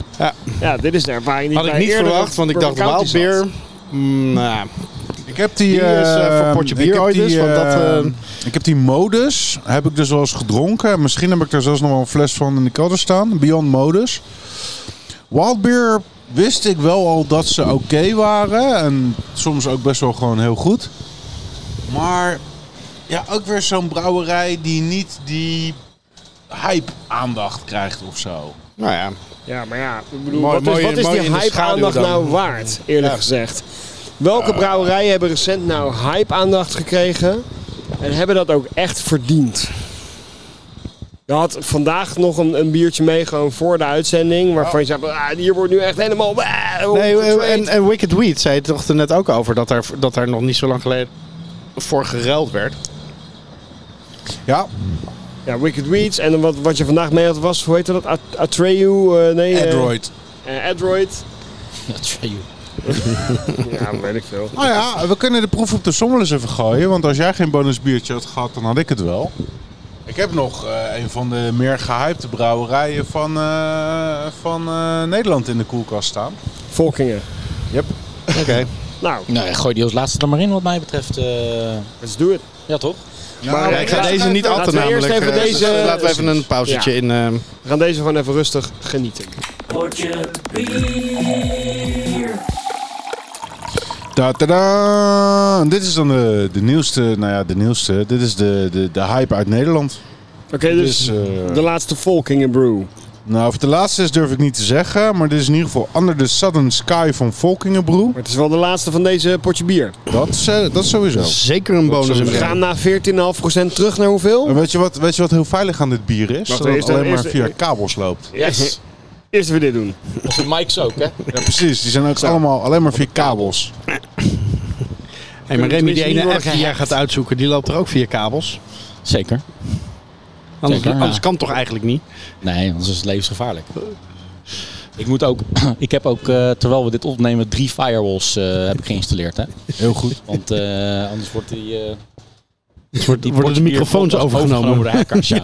Speaker 2: ja, dit is de ervaring die
Speaker 3: Had ik
Speaker 2: bij
Speaker 3: niet
Speaker 2: eerder
Speaker 3: verwacht, want ik dacht
Speaker 2: Bourbon County
Speaker 3: wild
Speaker 2: zat.
Speaker 3: beer. Mm, nou ja.
Speaker 6: Ik heb die,
Speaker 3: Die is, eh,
Speaker 6: eh,
Speaker 3: voor potje bier
Speaker 6: ik heb
Speaker 3: ooit dus, want dat,
Speaker 6: eh,
Speaker 3: eh,
Speaker 6: ik heb die modus, heb ik dus wel eens gedronken. Misschien heb ik er zelfs nog wel een fles van in de kelder staan. Beyond modus. Wild beer wist ik wel al dat ze oké waren. En soms ook best wel gewoon heel goed. Maar ja, ook weer zo'n brouwerij die niet die hype aandacht krijgt of zo.
Speaker 3: Nou ja,
Speaker 2: Ja, maar ja, ik bedoel,
Speaker 3: Mooi-
Speaker 2: wat, is,
Speaker 3: mooi-
Speaker 2: wat is
Speaker 3: mooi in
Speaker 2: die
Speaker 3: de
Speaker 2: hype-aandacht
Speaker 3: schaduw dan.
Speaker 2: nou waard, eerlijk
Speaker 3: Ja.
Speaker 2: gezegd? Welke brouwerijen hebben recent nou hype-aandacht gekregen en hebben dat ook echt verdiend? Je had vandaag nog een, een biertje mee, gewoon voor de uitzending, waarvan je zei, ah, hier wordt nu echt helemaal...
Speaker 3: Nee, en,
Speaker 2: opgetraind."
Speaker 3: en Wicked Weed zei het toch er net ook over dat daar, dat daar nog niet zo lang geleden voor geruild werd.
Speaker 6: Ja,
Speaker 2: Ja, Wicked Weeds. En wat, wat je vandaag mee had was, hoe heette dat? At- Atreyu? eh, nee, eh,
Speaker 6: Android.
Speaker 2: eh, Adroid.
Speaker 1: Dat is you.
Speaker 2: Ja, weet ik veel.
Speaker 6: Nou ja, we kunnen de proef op de sommel eens even gooien. Want als jij geen bonusbiertje had gehad, dan had ik het wel. Ik heb nog eh, een van de meer gehypte brouwerijen van, eh, van eh, Nederland in de koelkast staan.
Speaker 2: Volkingen.
Speaker 3: Oké.
Speaker 2: Nou,
Speaker 1: Nou, ja, gooi die als laatste er maar in wat mij betreft. eh,
Speaker 2: let's do it.
Speaker 1: ja, toch?
Speaker 6: Nou,
Speaker 2: Maar-
Speaker 3: ik ga deze niet
Speaker 2: Laten
Speaker 3: atten
Speaker 2: we eerst
Speaker 3: namelijk.
Speaker 2: even
Speaker 3: eh,
Speaker 2: deze-
Speaker 3: dus laten we even een pauzetje
Speaker 2: Ja.
Speaker 3: in. eh,
Speaker 2: We gaan deze gewoon even rustig genieten.
Speaker 6: Ta -ta Dit is dan de, de nieuwste, nou ja, de nieuwste. Dit is de, de, de hype uit Nederland.
Speaker 2: Oké, dus,
Speaker 6: Dus, eh,
Speaker 2: de laatste Volking in Brew.
Speaker 6: Nou, of het de laatste is durf ik niet te zeggen, maar dit is in ieder geval Under the Southern Sky van Volkingenbroe.
Speaker 2: Maar het is wel de laatste van deze potje bier.
Speaker 6: Dat, is, eh, dat is sowieso.
Speaker 3: Zeker een bonus.
Speaker 2: We gaan na 14,5% terug naar hoeveel?
Speaker 6: En weet je, wat, weet je wat heel veilig aan dit bier is?
Speaker 2: Wacht,
Speaker 6: dat het
Speaker 2: eerst-
Speaker 6: alleen maar
Speaker 2: eerst-
Speaker 6: via kabels loopt.
Speaker 1: Yes.
Speaker 2: Eerst even dit doen.
Speaker 1: Onze mics ook, hè?
Speaker 6: Ja, precies. Die zijn ook allemaal alleen maar via kabels.
Speaker 3: Hey, maar Remy, die
Speaker 2: Tenminste, niet
Speaker 3: ene app
Speaker 2: worden
Speaker 3: die jij gaat uitzoeken, die loopt er ook via kabels.
Speaker 1: Zeker.
Speaker 3: Anders,
Speaker 1: Zeker, ja.
Speaker 3: anders kan het toch eigenlijk niet?
Speaker 1: Nee, anders is het levensgevaarlijk. Ik, moet ook, ik heb ook, eh, terwijl we dit opnemen, drie firewalls eh, heb ik geïnstalleerd. Hè?
Speaker 6: Heel goed.
Speaker 1: Want eh, anders wordt die, eh
Speaker 3: Wordt,
Speaker 1: die
Speaker 3: worden de
Speaker 1: potje bier
Speaker 3: microfoons
Speaker 1: podcast
Speaker 3: overgenomen.
Speaker 1: door de hackers.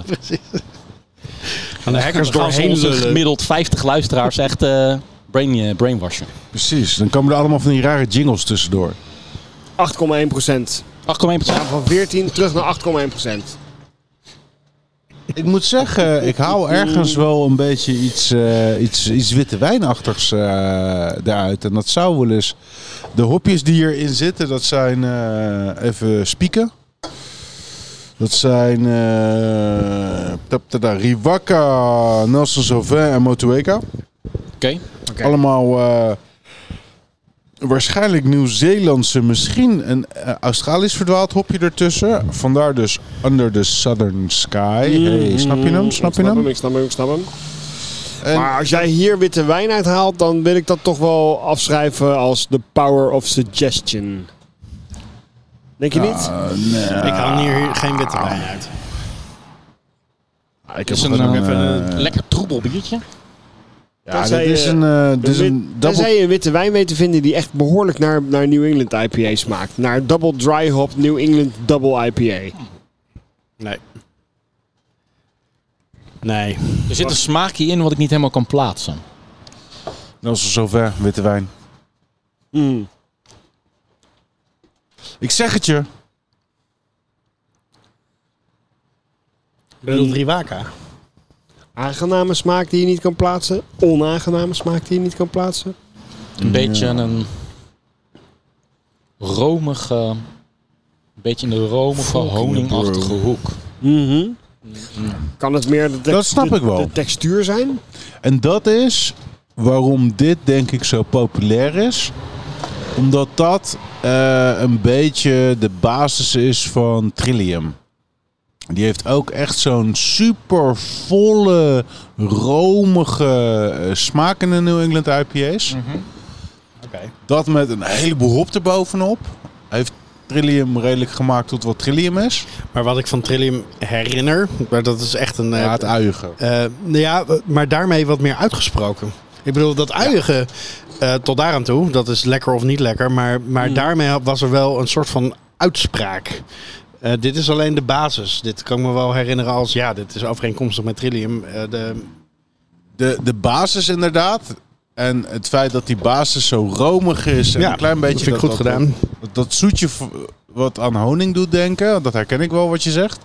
Speaker 1: Ja.
Speaker 3: Gaan de hackers
Speaker 1: Gaan ze
Speaker 3: doorheen
Speaker 1: onze
Speaker 3: lullen.
Speaker 1: gemiddeld 50 luisteraars echt eh brain, eh, brainwashen.
Speaker 6: Precies. Dan komen er allemaal van die rare jingles tussendoor.
Speaker 1: 8,1%.
Speaker 2: 8,1%. Van 14 terug naar 8,1%.
Speaker 6: Ik moet zeggen, ik hou ergens wel een beetje iets, eh, iets, iets witte wijnachtigs eh, daaruit. En dat zou wel eens... De hopjes die hierin zitten, dat zijn... eh, even spieken. Dat zijn... eh, tap, tap, tap, Riwaka, Nelson Sauvin en Motueka.
Speaker 1: Oké.
Speaker 2: Oké.
Speaker 6: Allemaal eh, waarschijnlijk Nieuw-Zeelandse, misschien een eh, Australisch verdwaald hopje ertussen. Vandaar dus Under the Southern Sky. Hey, snap je hem? Snap je
Speaker 2: Ik
Speaker 6: hem?
Speaker 2: Ik snap hem, ik snap hem.
Speaker 6: En-
Speaker 2: Maar als jij hier witte wijn uithaalt, dan wil ik dat toch wel afschrijven als the power of suggestion. Denk
Speaker 6: Ah,
Speaker 2: je niet?
Speaker 3: Ik haal hier geen witte wijn uit.
Speaker 6: Ik
Speaker 1: is een, eh, lekker troebel biertje.
Speaker 6: ja, dit
Speaker 2: tenzij
Speaker 6: is
Speaker 2: je-
Speaker 6: een, eh, dit is een
Speaker 2: Wit-
Speaker 6: double...
Speaker 2: Tenzij je een witte wijn weet te vinden die echt behoorlijk naar, naar New England IPA smaakt. Naar Double Dry Hop New England Double IPA.
Speaker 3: Nee. Nee.
Speaker 1: Er zit een smaakje in wat ik niet helemaal kan plaatsen.
Speaker 6: Nelson Sauvin, Nou, witte wijn.
Speaker 2: Mm.
Speaker 6: Ik zeg het je.
Speaker 3: Een Riwaka.
Speaker 2: Aangename smaak die je niet kan plaatsen. Onaangename smaak die je niet kan plaatsen.
Speaker 1: Een beetje een romige, een beetje in de romige, honingachtige hoek.
Speaker 2: Mhm. Kan het meer de,
Speaker 6: Dat snap
Speaker 2: de-
Speaker 6: ik wel.
Speaker 2: de textuur zijn?
Speaker 6: En dat is waarom dit denk ik zo populair is. Omdat dat eh, een beetje de basis is van Trillium. Die heeft ook echt zo'n super volle, romige eh, smaak in de New England IPA's.
Speaker 3: Oké.
Speaker 6: Dat met een heleboel hop erbovenop. Heeft Trillium redelijk gemaakt tot wat Trillium is.
Speaker 3: Maar wat ik van Trillium herinner, maar dat is echt een... eh,
Speaker 6: Ja, het uigen.
Speaker 3: eh, nou ja, maar daarmee wat meer uitgesproken. Ik bedoel, dat uiige eh, tot daar aan toe, dat is lekker of niet lekker. Maar,
Speaker 6: Mm.
Speaker 3: maar daarmee was er wel een soort van uitspraak. Eh, dit is alleen de basis. Dit kan ik me wel herinneren als, ja, dit is overeenkomstig met Trillium. eh, de,
Speaker 6: De, de basis inderdaad. En het feit dat die basis zo romig is. En
Speaker 3: Ja,
Speaker 6: een klein
Speaker 3: dat
Speaker 6: beetje
Speaker 3: vind ik goed gedaan.
Speaker 6: Dat, dat zoetje v- wat aan honing doet denken. Dat herken ik wel wat je zegt.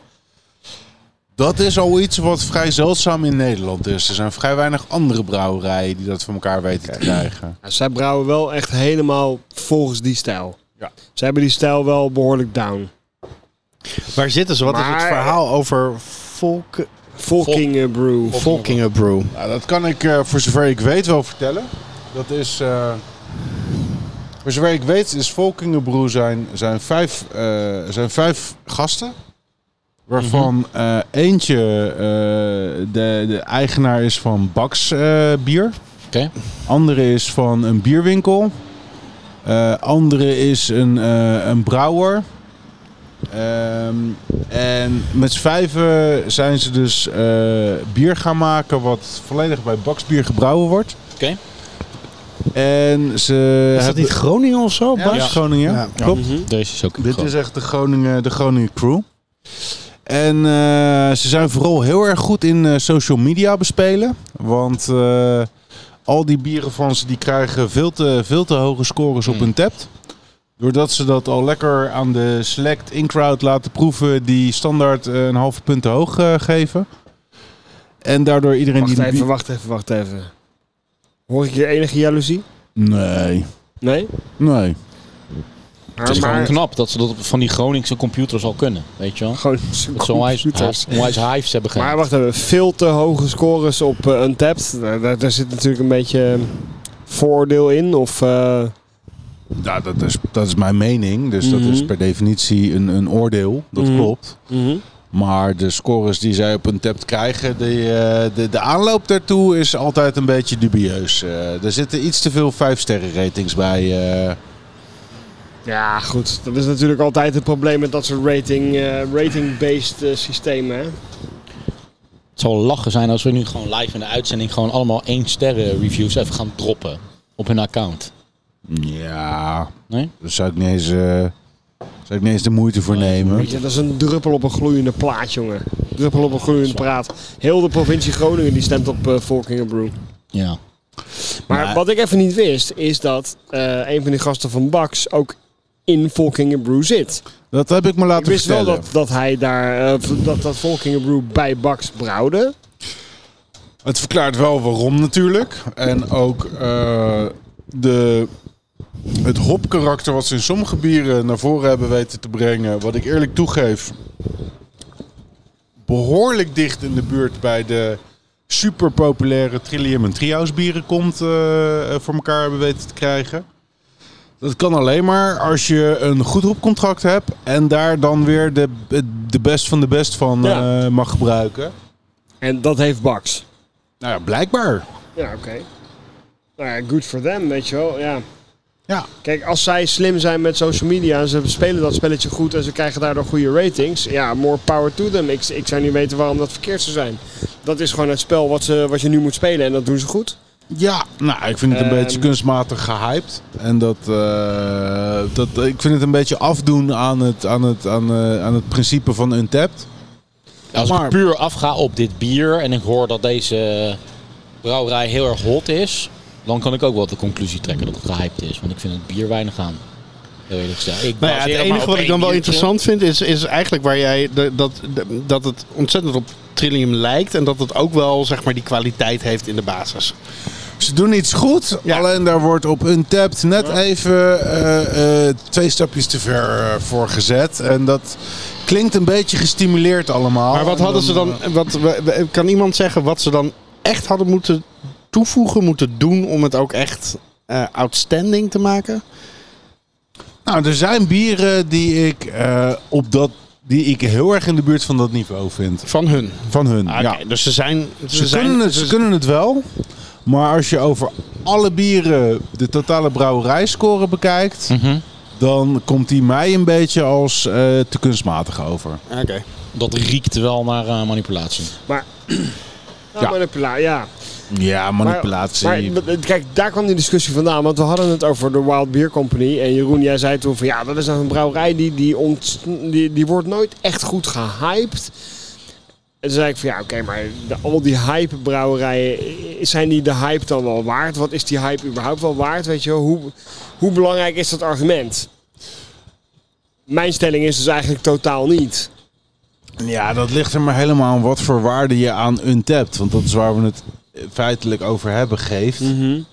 Speaker 6: Dat is al iets wat vrij zeldzaam in Nederland is. Er zijn vrij weinig andere brouwerijen die dat voor elkaar weten te krijgen.
Speaker 2: Ja, zij brouwen wel echt helemaal volgens die stijl.
Speaker 6: Ja.
Speaker 2: Ze hebben die stijl wel behoorlijk down.
Speaker 3: waar zitten ze? Wat is het
Speaker 2: Maar-
Speaker 3: verhaal over volk,
Speaker 2: Volking eh, Brew.
Speaker 3: Volkingen Brew?
Speaker 6: Nou, dat kan ik eh, voor zover ik weet wel vertellen. Dat is. eh, voor zover ik weet is Volkingenbroe zijn, zijn, vijf, eh, zijn vijf gasten. Waarvan
Speaker 1: Mhm.
Speaker 6: eh, eentje eh, de, de eigenaar is van Baks eh, bier.
Speaker 1: Oké.
Speaker 6: Andere is van een bierwinkel. Eh, andere is een, eh, een brouwer. Ehm, en met z'n vijven zijn ze dus eh, bier gaan maken wat volledig bij baksbier gebrouwen wordt.
Speaker 1: Oké.
Speaker 6: En ze
Speaker 3: Is dat
Speaker 6: hebben-
Speaker 3: niet Groningen of zo?
Speaker 6: Ja,
Speaker 3: Bas?
Speaker 6: dat is Groningen.
Speaker 3: Ja.
Speaker 6: Klopt.
Speaker 1: Deze is ook
Speaker 6: Dit is echt de Groningen, de Groningen crew. En eh, ze zijn vooral heel erg goed in eh, social media bespelen. Want eh, al die bieren van ze die krijgen veel te, veel te hoge scores op hun tapt. Doordat ze dat al lekker aan de select in-crowd laten proeven die standaard eh, een halve punt te hoog eh, geven. En daardoor iedereen
Speaker 2: Wacht
Speaker 6: die... de
Speaker 2: even, wacht even, wacht even. Hoor ik hier enige jaloezie?
Speaker 6: bier- Nee,
Speaker 2: Nee?
Speaker 6: nee.
Speaker 1: Het is
Speaker 2: Ah, maar-
Speaker 1: gewoon knap dat ze dat op- van die Groningse computers al kunnen, weet je wel?
Speaker 2: Gewoon
Speaker 1: Dat ze onwijs,
Speaker 2: computers.
Speaker 1: hi- onwijs hives hebben
Speaker 2: Maar
Speaker 1: gegeven.
Speaker 2: wacht even, veel te hoge scores op eh, Untapped. Daar, daar, daar zit natuurlijk een beetje eh, vooroordeel in. Of, eh,
Speaker 6: Ja, dat is, dat is mijn mening. Dus dat
Speaker 2: Mhm.
Speaker 6: is per definitie een, een oordeel. Dat klopt. Maar de scores die zij op een tap krijgen, die, eh, de, de aanloop daartoe is altijd een beetje dubieus. Eh, er zitten iets te veel 5-sterren ratings bij. eh.
Speaker 2: ja, goed. Dat is natuurlijk altijd het probleem met dat soort rating, eh, rating-based eh, systemen. Hè?
Speaker 1: Het zou wel lachen zijn als we nu gewoon live in de uitzending gewoon allemaal één sterren reviews even gaan droppen op hun account.
Speaker 6: ja,
Speaker 1: Nee?
Speaker 6: daar zou ik niet eens, eh, zou ik niet eens de moeite voor nemen.
Speaker 2: Weet je, dat is een druppel op een gloeiende plaat, jongen. Druppel op een gloeiende plaat. Heel de provincie Groningen die stemt op eh Volkinger Brew.
Speaker 1: Ja.
Speaker 2: Maar wat ik even niet wist, is dat eh, een van die gasten van Bax ook in Volkinger Brew zit.
Speaker 6: Dat heb ik me
Speaker 2: Ik
Speaker 6: laten
Speaker 2: wist wel
Speaker 6: vertellen.
Speaker 2: dat, dat hij daar, eh, dat, dat Volkinger Brew bij Bax brouwde.
Speaker 6: Het verklaart wel waarom natuurlijk. En ook eh, de, het hopkarakter wat ze in sommige bieren naar voren hebben weten te brengen. Wat ik eerlijk toegeef. Behoorlijk dicht in de buurt bij de superpopulaire Trillium en Trio's bieren komt. eh, eh, voor elkaar hebben weten te krijgen. Dat kan alleen maar als je een goed hopcontract hebt. En daar dan weer de, de best van de best van
Speaker 2: Ja.
Speaker 6: eh, mag gebruiken.
Speaker 2: En dat heeft Bax.
Speaker 6: Nou ja, blijkbaar.
Speaker 2: Ja, oké. Nou ja, good for them, weet je wel. Ja.
Speaker 6: Ja.
Speaker 2: Kijk, als zij slim zijn met social media en ze spelen dat spelletje goed en ze krijgen daardoor goede ratings, ja, more power to them. Ik, ik zou niet weten waarom dat verkeerd zou zijn. Dat is gewoon het spel wat, ze, wat je nu moet spelen en dat doen ze goed.
Speaker 6: Ja, nou, ik vind het een
Speaker 2: Ehm.
Speaker 6: beetje kunstmatig gehyped. En dat, eh, dat, ik vind het een beetje afdoen aan het, aan het, aan, eh, aan het principe van Untapped.
Speaker 1: Als
Speaker 6: Maar-
Speaker 1: ik puur afga op dit bier en ik hoor dat deze brouwerij heel erg hot is, dan kan ik ook wel de conclusie trekken dat het gehyped is. Want ik vind het bier weinig aan. Heel eerlijk gezegd. Ik
Speaker 3: Nou
Speaker 1: baseer
Speaker 3: ja, het
Speaker 1: hem maar
Speaker 3: enige
Speaker 1: op
Speaker 3: wat ik
Speaker 1: één
Speaker 3: dan wel
Speaker 1: biertje.
Speaker 3: interessant vind is, is eigenlijk waar jij de- dat, de- dat het ontzettend op Trillium lijkt en dat het ook wel zeg maar die kwaliteit heeft in de basis.
Speaker 6: Ze doen iets goed,
Speaker 3: Ja.
Speaker 6: alleen daar wordt op Untapped net even eh, eh, twee stapjes te ver eh, voor gezet. En dat klinkt een beetje gestimuleerd allemaal.
Speaker 3: Maar wat
Speaker 6: En
Speaker 3: hadden ze dan? Wat, we- we- kan iemand zeggen wat ze dan echt hadden moeten toevoegen, moeten doen om het ook echt eh, outstanding te maken?
Speaker 6: Nou, er zijn bieren die ik, eh, op dat, die ik heel erg in de buurt van dat niveau vind.
Speaker 3: Van hun.
Speaker 6: Van hun,
Speaker 3: Ah, Oké,
Speaker 6: ja.
Speaker 3: dus ze zijn. Ze,
Speaker 6: Ze,
Speaker 3: zijn,
Speaker 6: kunnen, het, ze kunnen het wel. Maar als je over alle bieren de totale brouwerijscore bekijkt. Dan komt die mij een beetje als eh, te kunstmatig over.
Speaker 3: Oké.
Speaker 1: Dat riekt wel naar eh, manipulatie.
Speaker 2: Maar.
Speaker 6: Ja.
Speaker 2: ja. manipula- ja.
Speaker 6: Ja, manipulatie.
Speaker 2: Maar, maar, kijk, daar kwam die discussie vandaan. Want we hadden het over de Wild Beer Company. En Jeroen, jij zei toen van ja, dat is nou een brouwerij die, die, ont, die, die wordt nooit echt goed gehyped. En toen zei ik van ja, oké, maar de- al die hype brouwerijen, i- zijn die de hype dan wel waard? Wat is die hype überhaupt wel waard? Weet je wel, hoe, hoe belangrijk is dat argument? Mijn stelling is dus eigenlijk totaal niet.
Speaker 6: ja, dat ligt er maar helemaal aan wat voor waarde je aan untapped. Want dat is waar we het eh, feitelijk over hebben geeft.
Speaker 2: Ja,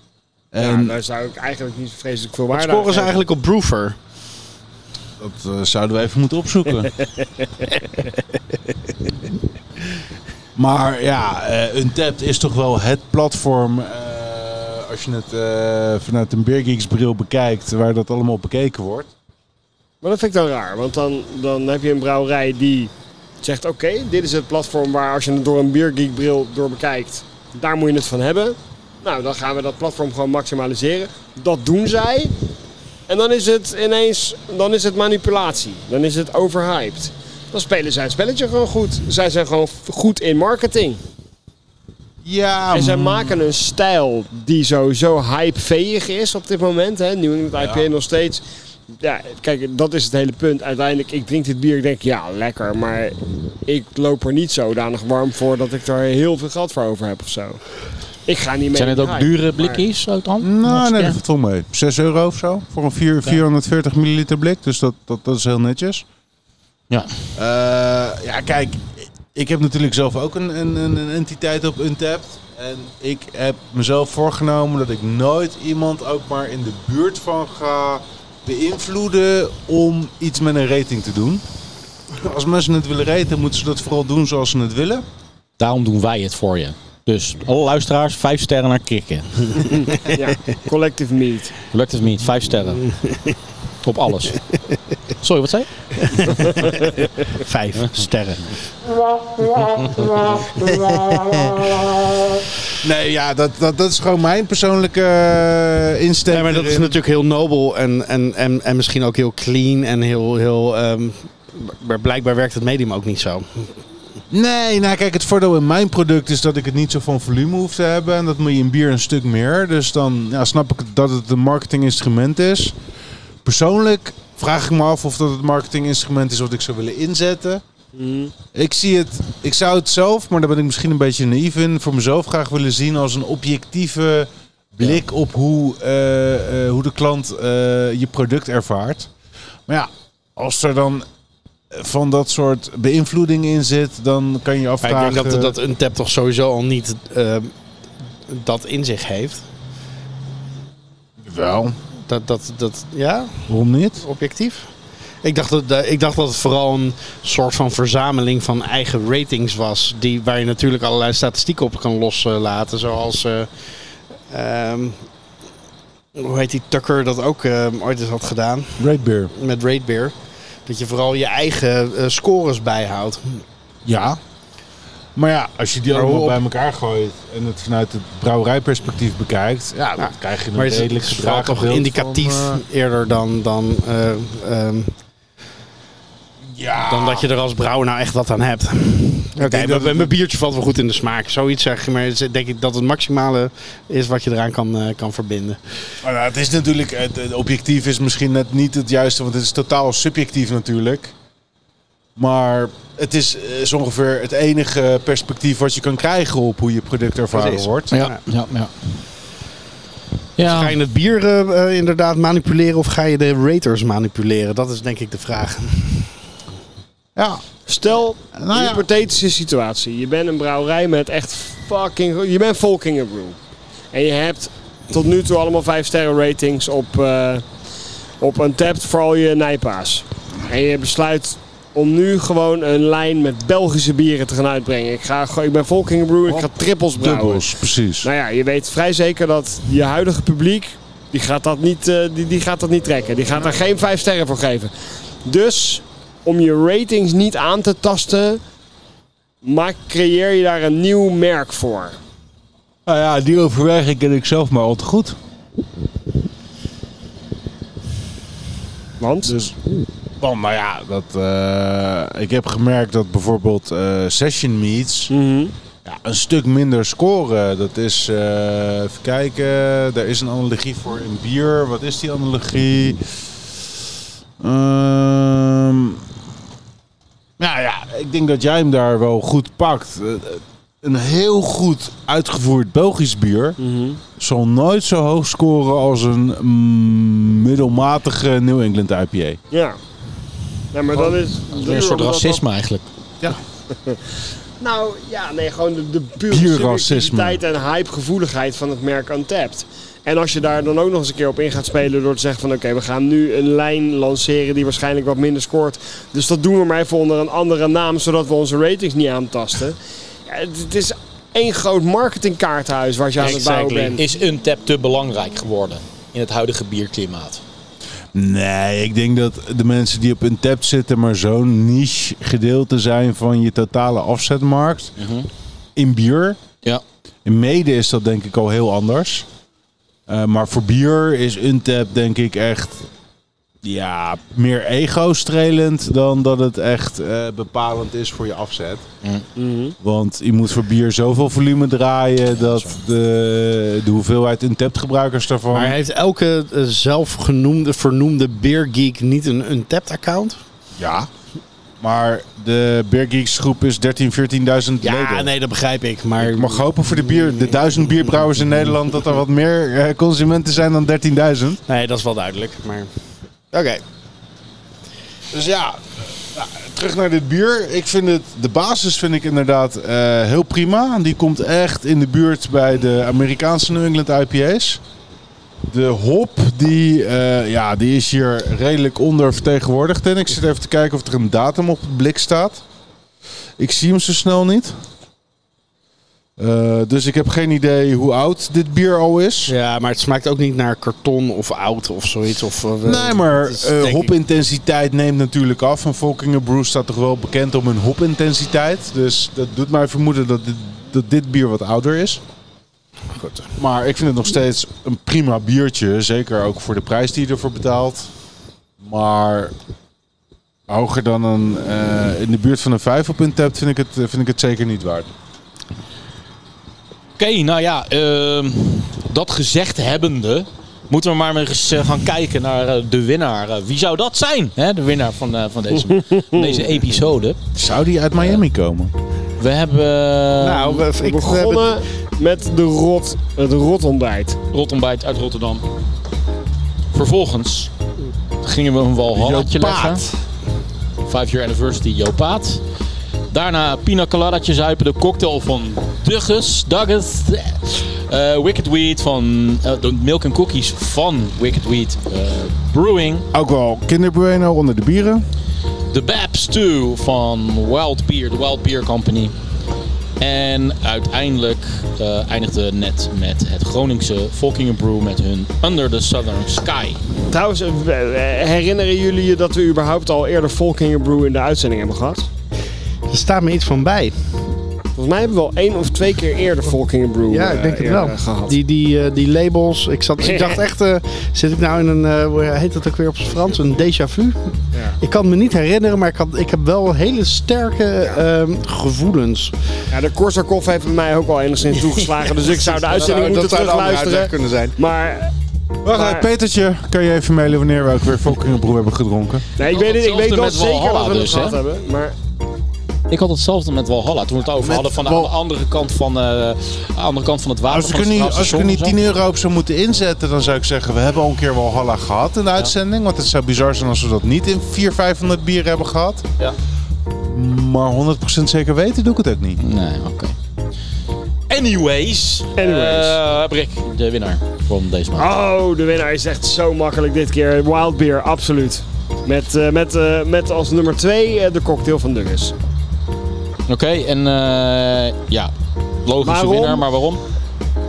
Speaker 6: En
Speaker 2: daar zou ik eigenlijk niet zo vreselijk veel waarde aan
Speaker 3: Scoren ze
Speaker 2: geven.
Speaker 3: eigenlijk op Brewer?
Speaker 6: dat eh, zouden we even moeten opzoeken. maar ja, eh Untappd is toch wel het platform. eh, als je het eh, vanuit een Beergeeks bril bekijkt, waar dat allemaal bekeken wordt.
Speaker 2: Maar dat vind ik dan raar, want dan, dan heb je een brouwerij die zegt: Oké, dit is het platform waar als je het door een biergeekbril door bekijkt, daar moet je het van hebben. Nou, dan gaan we dat platform gewoon maximaliseren. Dat doen zij. En dan is het ineens dan is het manipulatie. Dan is het overhyped. Dan spelen zij het spelletje gewoon goed. Zij zijn gewoon f- goed in marketing.
Speaker 6: Ja,
Speaker 2: En zij maken een stijl die sowieso hypeveeg is op dit moment. Hè? New England IPA nog steeds. Ja, kijk, dat is het hele punt. Uiteindelijk, ik drink dit bier, ik denk, ja, lekker. Maar ik loop er niet zodanig warm voor dat ik daar heel veel geld voor over heb of zo. Ik ga niet mee.
Speaker 1: Zijn het
Speaker 2: in de
Speaker 1: ook
Speaker 2: hype,
Speaker 1: dure
Speaker 2: maar-
Speaker 1: blikjes uit hand?
Speaker 6: Nou, nee,
Speaker 1: Ja.
Speaker 6: dat valt wel mee. 6 euro of zo voor een vier- 440 milliliter blik. Dus dat, dat, dat is heel netjes.
Speaker 1: Ja.
Speaker 6: Eh, ja, kijk, ik heb natuurlijk zelf ook een, een, een, een entiteit op Untapped. En ik heb mezelf voorgenomen dat ik nooit iemand ook maar in de buurt van ga beïnvloeden om iets met een rating te doen. Als mensen het willen raten, moeten ze dat vooral doen zoals ze het willen.
Speaker 1: Daarom doen wij het voor je. Dus alle luisteraars, vijf sterren naar kikken.
Speaker 2: Ja, collective meat.
Speaker 1: Lukt het niet, vijf sterren. Op alles. Sorry, wat zei je?
Speaker 3: Vijf sterren.
Speaker 6: Nee, ja, dat, dat, dat is gewoon mijn persoonlijke eh,
Speaker 3: Nee,
Speaker 6: insteek.
Speaker 3: maar dat is
Speaker 6: erin.
Speaker 3: natuurlijk heel nobel en, en, en, en misschien ook heel clean en heel... heel ehm, maar blijkbaar werkt het medium ook niet zo.
Speaker 6: Nee, nou kijk, het voordeel in mijn product is dat ik het niet zo van volume hoef te hebben. En dat moet je in bier een stuk meer. Dus dan ja, snap ik dat het een marketinginstrument is. Persoonlijk vraag ik me af of dat het marketinginstrument is wat ik zou willen inzetten.
Speaker 3: Mm.
Speaker 6: Ik zie het, ik zou het zelf, maar daar ben ik misschien een beetje naïef in, voor mezelf graag willen zien als een objectieve blik op hoe, eh, eh, hoe de klant eh, je product ervaart. Maar ja, als er dan eh, van dat soort beïnvloeding in zit, dan kan je je
Speaker 3: Maar ik
Speaker 6: afvragen...
Speaker 3: denk dat, dat een tap toch sowieso al niet ehm, dat in zich heeft.
Speaker 6: Wel,
Speaker 3: Dat, dat, dat, ja,
Speaker 6: waarom niet?
Speaker 3: objectief. Ik dacht, dat, dat- ik dacht dat het vooral een soort van verzameling van eigen ratings was. Die, waar je natuurlijk allerlei statistieken op kan loslaten. Zoals. eh, ehm, hoe heet die Tucker dat ook eh, ooit eens had gedaan?
Speaker 6: Great beer.
Speaker 3: Met Raidbeer. Dat je vooral je eigen eh, scores bijhoudt.
Speaker 6: Ja. Maar ja, als je die
Speaker 3: Maar
Speaker 6: allemaal
Speaker 3: hoe op-
Speaker 6: bij elkaar gooit en het vanuit het brouwerijperspectief bekijkt, ja, dan krijg je een
Speaker 3: Maar het
Speaker 6: redelijk
Speaker 3: is vooral
Speaker 6: gedragen
Speaker 3: toch
Speaker 6: beeld
Speaker 3: indicatief
Speaker 6: van, eh,
Speaker 3: eerder dan, dan, eh, ehm,
Speaker 6: ja.
Speaker 3: dan dat je er als brouwer nou echt wat aan hebt. Oké,
Speaker 6: denk dat
Speaker 3: mijn-
Speaker 6: het-
Speaker 3: mijn biertje valt wel goed in de smaak. Zoiets zeg je, maar het is- denk ik dat het maximale is wat je eraan kan, eh, kan verbinden.
Speaker 6: Maar nou, het is natuurlijk, het, het objectief is misschien net niet het juiste, want het is totaal subjectief natuurlijk. Maar het is, eh, is ongeveer het enige perspectief wat je kan krijgen op hoe je product ervaren
Speaker 3: Precies.
Speaker 6: wordt.
Speaker 1: Ja, ja, ja. Ja,
Speaker 3: Ga je het bier eh, eh, inderdaad manipuleren of ga je de raters manipuleren? Dat is denk ik de vraag.
Speaker 6: Ja,
Speaker 2: Stel,
Speaker 6: Nou ja.
Speaker 2: een hypothetische situatie. Je bent een brouwerij met echt fucking... Je bent Volkinger Brew. En je hebt tot nu toe allemaal 5 sterren ratings op, eh op een tap voor al je nijpaas. En je besluit om nu gewoon een lijn met Belgische bieren te gaan uitbrengen. Ik, ga, gewoon- ik ben Volkinger Brew
Speaker 6: Oh,
Speaker 2: en ik ga trippels brouwen.
Speaker 6: dubbels, precies.
Speaker 2: Nou ja, je weet vrij zeker dat je huidige publiek, die gaat dat niet, eh, die, die gaat dat niet trekken. Die gaat daar geen vijf sterren voor geven. Dus om je ratings niet aan te tasten, maak, creëer je daar een nieuw merk voor.
Speaker 6: Nou ja, die overweging ken ik zelf maar al te goed.
Speaker 2: Want?
Speaker 6: Dus, want nou ja, dat, eh, ik heb gemerkt dat bijvoorbeeld eh, session meets
Speaker 2: Mhm.
Speaker 6: ja, een stuk minder scoren. Dat is, eh, even kijken, daar is een analogie voor in bier. Wat is die analogie? Ehm, nou ja, ik denk dat jij hem daar wel goed pakt. Eh, eh, Een heel goed uitgevoerd Belgisch bier zal nooit zo hoog scoren als een mm, middelmatige New England IPA.
Speaker 2: Ja. Nee, maar dat is...
Speaker 1: weer een soort racisme eigenlijk.
Speaker 2: Nou ja, nee, gewoon de, de pure
Speaker 6: Bierracisme.
Speaker 2: subjectiviteit en hypegevoeligheid van het merk Untapped. En als je daar dan ook nog eens een keer op in gaat spelen door te zeggen van oké, we gaan nu een lijn lanceren die waarschijnlijk wat minder scoort. Dus dat doen we maar even onder een andere naam, zodat we onze ratings niet aantasten. Ja, het, het is één groot marketingkaarthuis waar je aan het bouwen bent.
Speaker 1: Is een tap te belangrijk geworden in het huidige bierklimaat?
Speaker 6: Nee, ik denk dat de mensen die op een tap zitten, maar zo'n niche gedeelte zijn van je totale afzetmarkt. In bier.
Speaker 1: Ja.
Speaker 6: In mede is dat denk ik al heel anders. Eh, maar voor bier is een tap denk ik echt ja, meer ego-strelend dan dat het echt eh, bepalend is voor je afzet.
Speaker 3: Mm.
Speaker 6: Want je moet voor bier zoveel volume draaien dat de, de hoeveelheid untapped gebruikers daarvan...
Speaker 3: Maar heeft elke eh, zelfgenoemde, vernoemde beergeek niet een untapped account?
Speaker 6: Ja. Maar de Beer Geeks groep is 13.000, 14.000
Speaker 3: Ja,
Speaker 6: leden.
Speaker 3: nee, dat begrijp ik. Maar
Speaker 6: Ik mag hopen voor de, bier, de duizend bierbrouwers in Nederland dat er wat meer eh, consumenten zijn dan 13.000.
Speaker 3: nee, dat is wel duidelijk. Maar... Oké.
Speaker 6: Dus ja, nou, terug naar dit bier. Ik vind het, de basis vind ik inderdaad eh, heel prima. Die komt echt in de buurt bij de Amerikaanse New England IPA's. De hop, die, eh, ja, die is hier redelijk ondervertegenwoordigd. En ik zit even te kijken of er een datum op het blik staat. Ik zie hem zo snel niet. Eh, dus ik heb geen idee hoe oud dit bier al is.
Speaker 3: Ja, maar het smaakt ook niet naar karton of oud of zoiets. Of, eh,
Speaker 6: Nee, maar
Speaker 3: het is,
Speaker 6: eh
Speaker 3: denk ik-
Speaker 6: hopintensiteit neemt natuurlijk af. En Volkinger Brew staat toch wel bekend om hun hopintensiteit. Dus dat doet mij vermoeden dat dit, dat dit bier wat ouder is.
Speaker 3: Goed.
Speaker 6: Maar ik vind het nog steeds een prima biertje. Zeker ook voor de prijs die je ervoor betaalt. Maar hoger dan een, eh, in de buurt van een 5 op een tap vind ik het, vind ik het zeker niet waard.
Speaker 1: Oké, nou ja, ehm, dat gezegd hebbende, moeten we maar weer eens eh, gaan kijken naar eh, de winnaar. Eh, wie zou dat zijn? Hè, de winnaar van, eh, van, deze, van deze episode.
Speaker 6: Zou die uit Miami komen?
Speaker 1: We hebben
Speaker 3: Nou, we,
Speaker 2: We
Speaker 3: ik, we hebben-
Speaker 2: begonnen met de rot, het rotontbijt.
Speaker 1: Rotontbijt uit Rotterdam. Vervolgens gingen we een walhalletje leggen. Five Year Anniversary Jopaat. Daarna pina coladatje zuipen, de cocktail van Dugges, Dugges. Eh, Wicked Weed van, eh, de Milk and Cookies van Wicked Weed eh, Brewing.
Speaker 6: Ook wel kinderbueno onder de bieren.
Speaker 1: De Babs 2 van Wild Beer, de Wild Beer Company. En uiteindelijk eh, eindigde net met het Groningse Volkingen Brew met hun Under the Southern Sky.
Speaker 2: Trouwens, eh, eh, herinneren jullie je dat we überhaupt al eerder Volkinger Brew in de uitzending hebben gehad?
Speaker 3: er staat me iets van bij.
Speaker 2: Volgens mij hebben we al één of twee keer eerder Volkinger Brew
Speaker 3: Ja,
Speaker 2: eh,
Speaker 3: ik denk het
Speaker 2: eerder
Speaker 3: wel.
Speaker 2: gehad.
Speaker 3: Die, die, eh, die labels. Ik, zat, ik dacht echt, eh, zit ik nou in een, eh, hoe heet dat ook weer op het Frans? Een déjà vu? Ik kan me niet herinneren, maar ik, had, ik heb wel hele sterke ehm, gevoelens.
Speaker 2: Ja, de Korsakoff heeft bij mij ook al enigszins toegeslagen, dus ik zou de uitzending
Speaker 3: dat
Speaker 2: moeten
Speaker 3: zou de andere
Speaker 2: terugluisteren.
Speaker 3: uitweg kunnen zijn.
Speaker 2: Maar
Speaker 6: Wacht,
Speaker 2: Maar-
Speaker 6: eh, Petertje, kan je even mailen wanneer we ook weer Volkinger Brew hebben gedronken?
Speaker 2: nee, ik weet, het, ik weet
Speaker 1: Hetzelfde
Speaker 2: wel
Speaker 1: met
Speaker 2: zeker dat
Speaker 1: Walhalla
Speaker 2: we het
Speaker 1: dus,
Speaker 2: gehad
Speaker 1: hè?
Speaker 2: hebben. Maar
Speaker 1: Ik had hetzelfde met Walhalla toen we het over hadden van de, aan de andere kant van, eh, aan de andere kant van het water.
Speaker 6: Als ik,
Speaker 1: van
Speaker 6: er
Speaker 1: het
Speaker 6: niet,
Speaker 1: Centraal
Speaker 6: als ik er
Speaker 1: Station
Speaker 6: niet 10 euro op zou moeten inzetten, dan zou ik zeggen: we hebben al een keer Walhalla gehad in de uitzending. Want het zou bizar zijn als we dat niet in 400, 500 bieren hebben gehad.
Speaker 1: Ja.
Speaker 6: Maar 100% zeker weten doe ik het ook niet.
Speaker 1: of zo. Nee, oké. Anyways,
Speaker 2: Anyways.
Speaker 1: eh, Brik, de winnaar van deze maand.
Speaker 2: Oh, de winnaar is echt zo makkelijk dit keer. Wild Beer, absoluut. Met, eh, met, eh, met als nummer twee eh, de cocktail van Dungus.
Speaker 1: Oké, en eh, ja, logische
Speaker 2: Waarom?
Speaker 1: winnaar, maar waarom?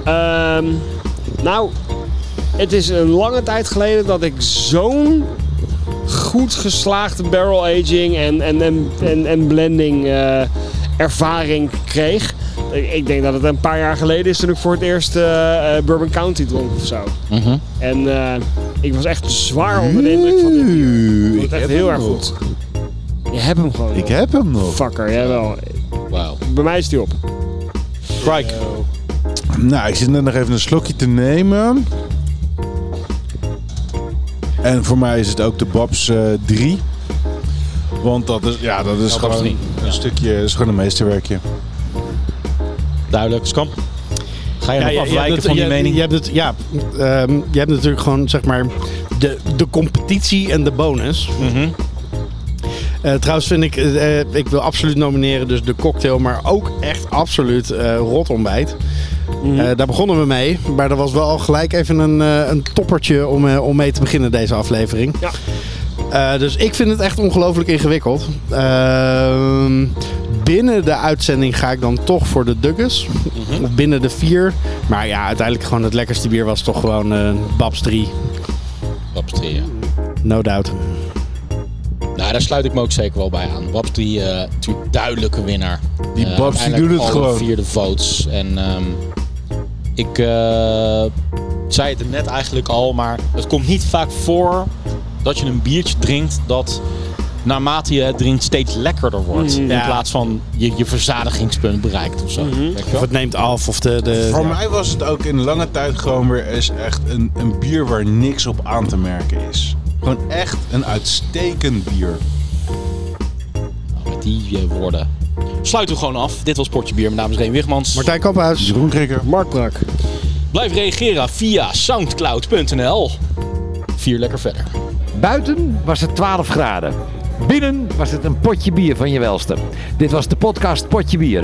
Speaker 2: Ehm, nou, het is een lange tijd geleden dat ik zo'n goed geslaagde barrel aging en, en, en, en, en blending eh, ervaring kreeg. Ik, ik denk dat het een paar jaar geleden is toen ik voor het eerst eh, eh, Bourbon County dronk of zo.
Speaker 1: Mhm.
Speaker 2: En eh, ik was echt zwaar onder de indruk van dit bier. Ik vond het echt heel erg goed. Je hebt hem gewoon.
Speaker 6: Ik
Speaker 2: joh.
Speaker 6: heb hem nog.
Speaker 2: Fucker, jawel.
Speaker 1: Wauw.
Speaker 2: Bij mij is die op.
Speaker 1: Strike.
Speaker 6: Nou, ik zit net nog even een slokje te nemen. En voor mij is het ook de Babs eh, 3. Want dat is, ja, dat is
Speaker 1: Ja, Babs
Speaker 6: gewoon
Speaker 1: drie.
Speaker 6: een stukje, is gewoon een meesterwerkje.
Speaker 1: Duidelijk. Skam. Ga je nog
Speaker 3: je- je
Speaker 1: afwijken
Speaker 3: hebt
Speaker 1: van die
Speaker 3: je-
Speaker 1: mening?
Speaker 3: Je hebt, het, ja, ehm, je hebt natuurlijk gewoon zeg maar de, de competitie en de bonus.
Speaker 1: Mhm.
Speaker 3: Eh, trouwens vind ik, eh, eh, ik wil absoluut nomineren dus de cocktail, maar ook echt absoluut eh rotontbijt.
Speaker 1: Mhm.
Speaker 3: Eh, daar begonnen we mee, maar er was wel al gelijk even een, eh, een toppertje om, eh, om mee te beginnen deze aflevering.
Speaker 2: Ja.
Speaker 3: Eh, dus ik vind het echt ongelooflijk ingewikkeld. Ehm, binnen de uitzending ga ik dan toch voor de Duggers. Of binnen de vier. Maar ja, uiteindelijk gewoon het lekkerste bier was toch gewoon eh, Babs 3.
Speaker 1: Babstree, ja.
Speaker 3: No doubt.
Speaker 1: Nou, daar sluit ik me ook zeker wel bij aan. Babs die eh, natuurlijk duidelijke winnaar.
Speaker 6: Die
Speaker 1: Eh,
Speaker 6: Babs, die
Speaker 1: uiteindelijk
Speaker 6: doet het
Speaker 1: alle
Speaker 6: gewoon.
Speaker 1: vier de votes. En ehm, ik eh, zei het er net eigenlijk al, maar het komt niet vaak voor dat je een biertje drinkt dat naarmate je het drinkt steeds lekkerder wordt.
Speaker 6: Mm,
Speaker 1: In
Speaker 3: Ja.
Speaker 1: plaats van je, je verzadigingspunt bereikt of zo.
Speaker 6: Mm-hmm.
Speaker 1: Weet je
Speaker 3: Of
Speaker 1: wel?
Speaker 3: het neemt af of de... de
Speaker 6: Voor
Speaker 3: ja.
Speaker 6: mij was het ook in lange tijd gewoon weer eens echt een, een bier waar niks op aan te merken is. Gewoon echt een uitstekend bier.
Speaker 1: Nou, met die eh, woorden sluiten we gewoon af. Dit was Portje Bier. Mijn naam is Reen Wigmans.
Speaker 3: Martijn Kamphuis.
Speaker 6: Jeroen Krikker.
Speaker 2: Mark Brak.
Speaker 1: Blijf reageren via soundcloud.nl. Vier lekker verder.
Speaker 8: Buiten was het 12 graden. Binnen was het een potje bier van je welste. Dit was de podcast Potje Bier.